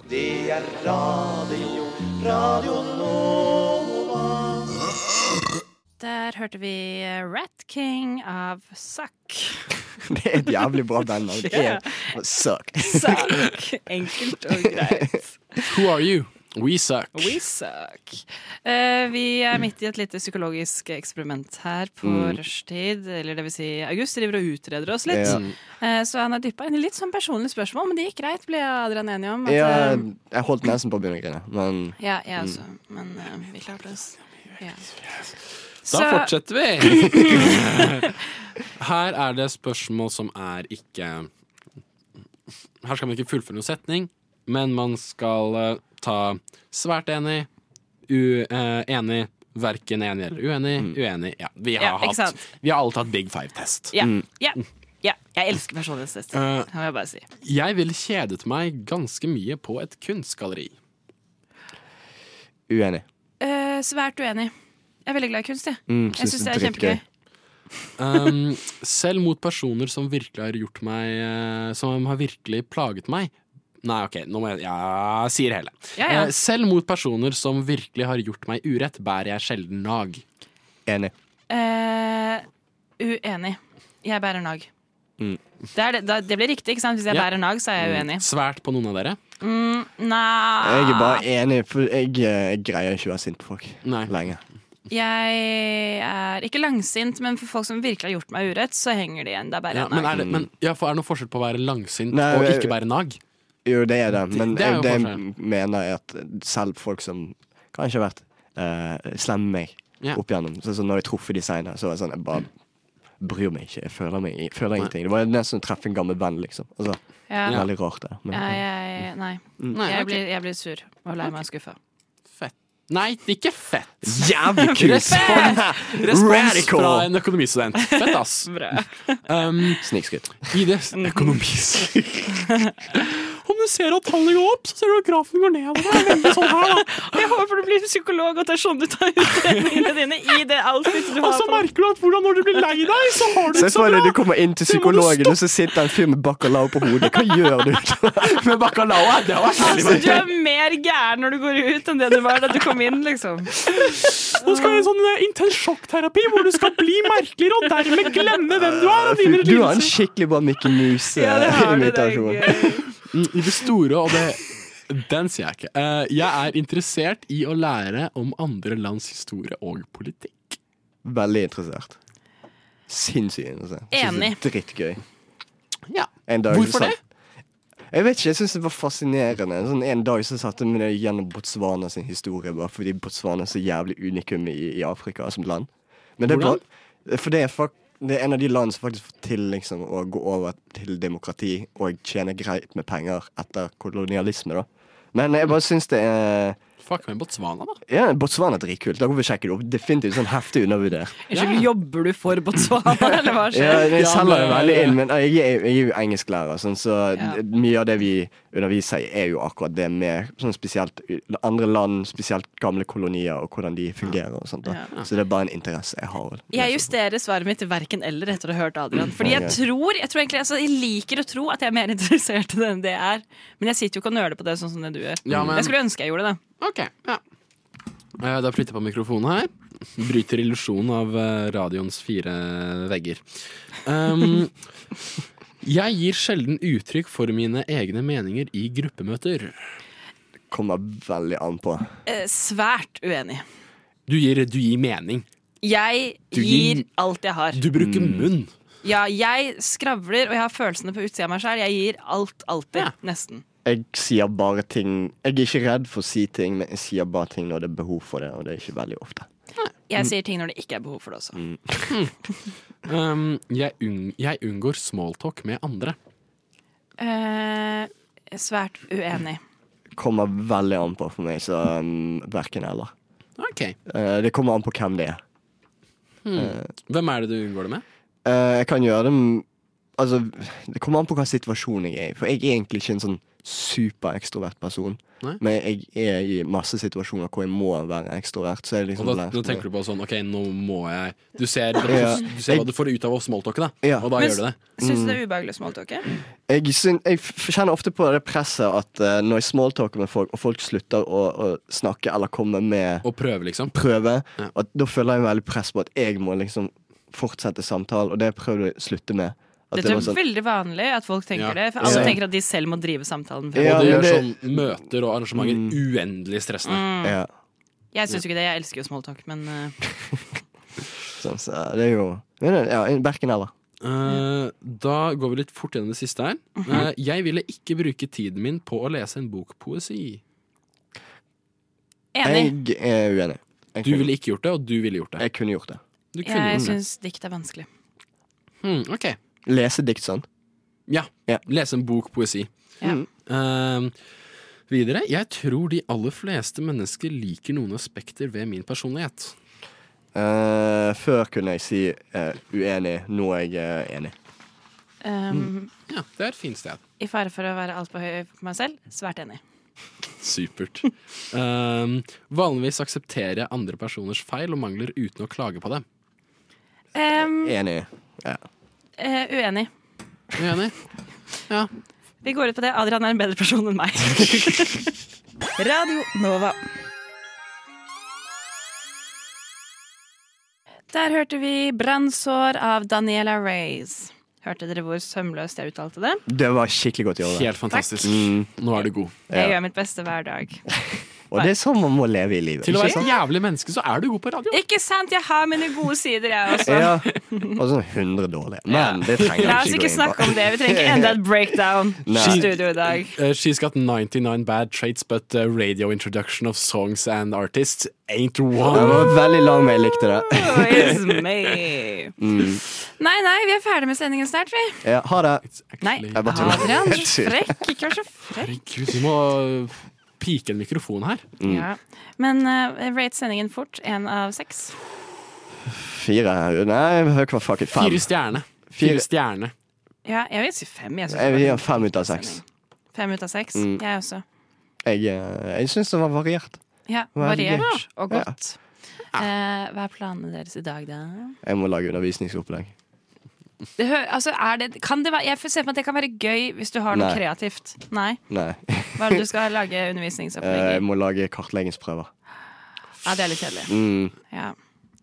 Der hørte vi eh, Rat King av Suck.
<laughs>
<laughs>
Det er et jævlig bra
<laughs>
band. og Det er, suck.
Suck. Enkelt og greit.
Who are you? We suck.
We suck. Eh, vi er midt i et lite psykologisk eksperiment her på
Mm.
rushtid. Eller det vil si, August driver og utreder oss litt.
Ja.
Eh, så han er dyppa inn i litt sånn personlige spørsmål, men det gikk greit, ble Adrian enig om. At,
Ja,
eh,
jeg holdt nesten på å begynne å grine, men
ja,
Mm.
jeg også. Men eh, vi klarte oss. Ja.
Da
Så-
fortsetter vi.
<laughs>
Her er det spørsmål som er ikke Her skal man ikke fullføre noen setning, men man skal eh, ta svært enig, u, eh, enig, verken enig eller uenig, uenig. Ja, vi har,
Ja, ikke sant.
hatt, vi har alle tatt big five-test.
Ja. ja. Ja, jeg elsker personlighetstester.
Mm. Eh,
Det må jeg bare si.
Jeg ville kjedet meg ganske mye på et kunstgalleri.
Uenig. Mm,
Eh, svært uenig. Jeg er veldig glad i kunst, jeg.
Mm,
jeg
synes
syns det
det
er
er
kjempegøy.
Um, selv mot personer som virkelig har gjort meg eh, Som har virkelig plaget meg. Nei, OK, nå må jeg ja, Jeg sier hele.
Ja, ja.
Eh, selv mot personer som virkelig har gjort meg urett, bærer jeg sjelden nag.
Enig.
Eh, uenig. Jeg bærer nag. Det, er det, da- det blir riktig, ikke sant? Hvis jeg
Mm. Ja. Mm.
bærer nag, så er jeg uenig.
Svært på noen av dere?
Mm, nei
Ah.
Jeg er bare enig, for jeg, eh, jeg greier ikke å være sint på folk lenge.
Jeg er ikke langsint, men for folk som virkelig har gjort meg urett, så henger det igjen. Da bærer
Ja,
jeg
men
nag.
er det, men, ja, for er det noen forskjell på å være langsint
Nei,
og
jeg-
ikke bære nag?
Jo, det er det, men
Det
det,
er jo
det jeg
forskjell.
mener er at selv folk som kanskje har vært eh, slemme med meg
Ja.
opp igjennom så, så Når jeg traff de senere, så var jeg sånn Jeg bare bryr meg ikke. Jeg føler, meg, jeg føler ingenting. Det var nesten å treffe en gammel venn, liksom. Altså,
Ja.
Veldig rart, det. Men,
ja, jeg, nei.
Mm.
Nei,
jeg,
ok.
blir, jeg blir sur og lei meg og skuffa.
Nei, ikke fett!
Jævlig kul
Respons,
<laughs> respons.
respons
Radical.
fra en økonomistudent. Fett,
<laughs>
ass. Um,
Snikskryt.
I det
<laughs>
økonomisk Om du ser at tallene går opp, så ser du at grafen går ned. Det er veldig sånn her, da.
Jeg håper du blir psykolog og det er sånn du tar utregningene dine i det outfitet
<laughs>
du
Og så merker du at hvordan når du blir lei deg, så
<laughs>
har du
Se
det så
for deg du
bra.
kommer inn til psykologen, og så sitter en fyr med bacalao på hodet. Hva gjør du?
<laughs> med bacalao? Det var
Altså,
<laughs>
du er mer gæren når du går ut enn det du var da du kom inn, liksom.
Nå skal jeg ha en sånn eh, intens sjokkterapi hvor du skal bli merkeligere og dermed glemme hvem du er. Og dine
Du har en
lidelser.
skikkelig bra eh, Mikke Mus-invitasjon.
Mm, I det store og det Den sier jeg ikke. Eh, jeg er interessert i å lære om andre lands historie og politikk.
Veldig interessert. Sinnssykt interessert. Synes det er
Enig.
Drittgøy.
Ja.
En dag
Hvorfor
så satt- Jeg vet ikke, jeg syns det var fascinerende. Sånn En dag så satte jeg meg ned gjennom Botswana sin historie, bare fordi Botswana er så jævlig unikum i, i Afrika som land. Men det er bra,
Hvordan?
for det er, fak, det er en av de land som faktisk får til liksom, å gå over til demokrati og tjene greit med penger etter kolonialisme, da. Men jeg bare syns det er
Fuck med Botswana, da.
ja, Botswana er dritkult. Da går vi og sjekker det opp. Definitivt sånn heftig undervurdert.
Unnskyld, jobber du for Botswana, <laughs> eller hva
Ja,
skjer?
jeg selger jo
men-
veldig inn, men jeg, er- jeg er jo engelsklærer, sånn, så
eh, Ja.
d- mye av det vi underviser i, er jo akkurat det med sånn spesielt u- andre land, spesielt gamle kolonier, og hvordan de fungerer og sånt. Da.
Ja.
Så det er bare en interesse jeg har.
Jeg justerer svaret mitt til verken eller etter å ha hørt Adrian. Fordi jeg tror, jeg tror egentlig, altså jeg liker å tro at jeg er mer <laughs> interessert i det enn det jeg er. Men jeg sitter jo ikke og nøler på det sånn som det du gjør.
Ja, men-
Jeg skulle ønske jeg gjorde det.
Ok, ja. Eh, Da flytter jeg på mikrofonen her. Bryter illusjonen av eh, radioens fire vegger. Um, jeg gir sjelden uttrykk for mine egne meninger i gruppemøter.
Kommer veldig an på.
Eh, svært uenig.
Du gir, du gir mening.
Jeg
Du
gir
gir-
alt jeg har.
Du bruker munn.
Ja, jeg skravler, og jeg har følelsene på utsida av meg sjøl. Jeg gir alt, alltid. Nesten.
Jeg sier bare ting Jeg er ikke redd for å si ting, men jeg sier bare ting når det er behov for det, og det er ikke veldig ofte.
Jeg sier ting når det ikke er behov for det også.
Um, jeg, unng, jeg unngår smalltalk med andre.
Eh, svært uenig.
Kommer veldig an på for meg, så um, verken eller.
Ok.
Eh, det kommer an på hvem det er.
Hmm. Hvem er det du unngår det med?
Eh, jeg kan gjøre det m- Altså, det kommer an på hva situasjonen jeg er i. For jeg er egentlig ikke en sånn superekstrovert person.
Nei.
Men jeg er i masse situasjoner hvor jeg må være ekstrovert. Så jeg liksom
Og da, nå tenker du på sånn, ok, nå må jeg Du ser,
Ja.
du ser hva du får ut av å smalltalke, da.
Ja.
Og da
Men
gjør du det.
Syns du det er ubehagelig å smalltalke?
Jeg, syn- jeg f- kjenner ofte på det presset at eh, når jeg smalltalker med folk, og folk slutter å, å snakke eller komme med
Og prøve, liksom.
prøve,
Ja.
at da føler jeg veldig press på at jeg må liksom fortsette samtalen, og det prøvde jeg å slutte med. At
Dette
det
er
var sånn-
veldig vanlig at folk tenker
Ja.
det. For alle
Ja.
tenker at de selv må drive samtalen.
Ja,
og det
men
gjør
det- Mm.
sånn møter og arrangementer uendelig stressende.
Mm.
ja,
Jeg syns jo ikke det. Jeg elsker jo smalltalk, men eh,
sånn, så det er jo men, ja, Verken eller. Mm.
Eh, da går vi litt fort gjennom det siste her.
Mhm.
Eh, jeg ville ikke bruke tiden min på å lese en bok poesi.
enig.
Jeg er uenig. Jeg
Du
kunne-
ville ikke gjort det, og du ville gjort det.
Jeg kunne gjort det.
Du kunne
Jeg
gjort det.
syns dikt er vanskelig.
Hmm, ok.
Lese dikt sånn.
Ja.
Ja. Mm.
Lese en bok poesi.
Ja.
Eh, videre. Jeg tror de aller fleste mennesker liker noen aspekter ved min personlighet.
Eh, før kunne jeg si eh, uenig, nå er jeg eh, enig.
Um,
Ja, det er et fint sted.
I fare for å være altfor høy på meg selv, svært enig.
Supert. Um, vanligvis aksepterer jeg andre personers feil og mangler uten å klage på dem.
Um,
Enig. Ja.
eh, uenig.
Uenig? Ja.
Vi går ut på det. Adrian er en bedre person enn
<laughs>
meg.
Radio Nova.
Der hørte vi 'Brannsår' av Daniela Rays. Hørte dere hvor sømløst jeg uttalte det?
Det var skikkelig godt i år.
Helt fantastisk.
Mm.
Nå er du god.
Jeg gjør mitt beste hver dag.
Og det er sånn man må leve i livet.
Til å
ikke
være et jævlig menneske, så er du god på radio.
Ikke sant? Jeg har mine gode sider, jeg
sant?
også.
Ja, og sånn 100 dårlige. Men det trenger
La oss
vi ikke
ikke
gå inn
snakke om
på.
det. Vi trenger ikke enda et breakdown
<laughs> Nei.
i studio i dag.
Uh, she's got 99 bad traits, but uh, radio introduction of songs and artists ain't
Det
one.
var veldig lang, men jeg likte det.
Oh, it's me.
Mm.
Nei, nei, vi er ferdig med sendingen snart, vi.
Ja, ha det.
Nei,
Jeg bare tuller.
Adrian,
Jeg tuller.
frekk. Ikke vær så frekk.
Herregud, vi må uh, pike en mikrofon her.
Mm.
Ja. Men eh, rate sendingen fort. Én av seks.
Fire Nei, hva fuck it. Fem.
Fire stjerne.
Fire-
Fire stjerne.
Ja, jeg vil si fem. Jeg synes
Jeg
det
vil
var
gi fem ut av seks.
Fem ut av seks.
Mm.
Jeg også.
Jeg, eh, jeg syns det var variert.
Ja,
Veldig gøy.
Variert og
Ja. Ah.
godt. Eh, hva er planene deres i dag, da?
Jeg må lage undervisningsopplegg.
Det hø altså, er det, kan det være, jeg ser for meg at det kan være gøy hvis du har noe
Nei.
kreativt. Nei?
Nei.
Hva er det du skal lage
Eh, Jeg
undervisningsopplegg i?
må lage kartleggingsprøver.
Ja, det er litt kjedelig.
Mm.
Ja.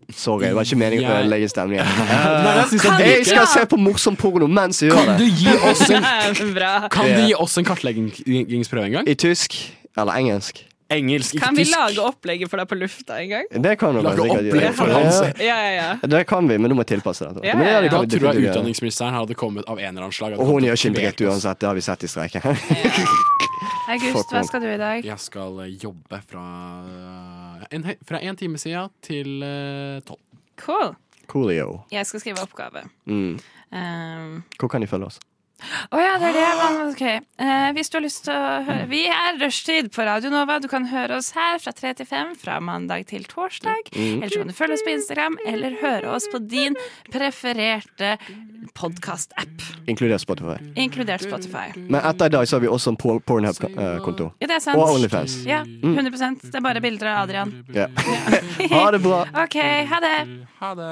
Sorry, det var ikke meningen å
Jeg-
ødelegge
<laughs>
stemningen.
jeg synes
Eh,
han
Jeg
liker.
skal se på morsom porno mens jeg gjør
Kan du
det.
gi oss
<laughs>
en,
Bra.
kan du gi oss en kartleggingsprøve en gang?
I tysk eller engelsk.
Engelsk, ikke
Kan vi
tysk.
lage opplegget for deg på lufta en gang?
Det kan du
Lage
sikkert gjøre.
opplegg for hans.
Ja,
Ja, ja, ja.
Det kan vi, men du må tilpasse dette.
Ja,
Men det
ja, ja.
Da tror
kan vi
jeg
definitivt gjøre.
utdanningsministeren hadde kommet av en eller annen slag.
Og hun gjør altså. ikke en dritt uansett, det har vi sett i streiken.
August,
Fuck
hva
meg.
skal du i dag?
Jeg skal eh, jobbe fra eh, en, høy- fra en time siden til eh, tolv.
Cool.
<laughs> Coolio.
Jeg skal skrive oppgave.
Mm.
Um,
Hvor kan de følge oss?
Å ja, det er det. man- ok. Eh, hvis du har lyst til å høre Vi er rushtid på Radio Nova. Du kan høre oss her fra 3 til 5 fra mandag til torsdag. Eller så kan du følge oss på Instagram, eller høre oss på din prefererte podkast-app,
Inkludert Spotify.
Mm. inkludert Spotify.
Men etter i dag så har vi også en por- Pornhub-konto.
Ja, det er sant.
Og Onlyfans.
Ja, 100 Det er bare bilder av Adrian.
Ja. <laughs> Ha det bra!
OK, ha det.
Ha det.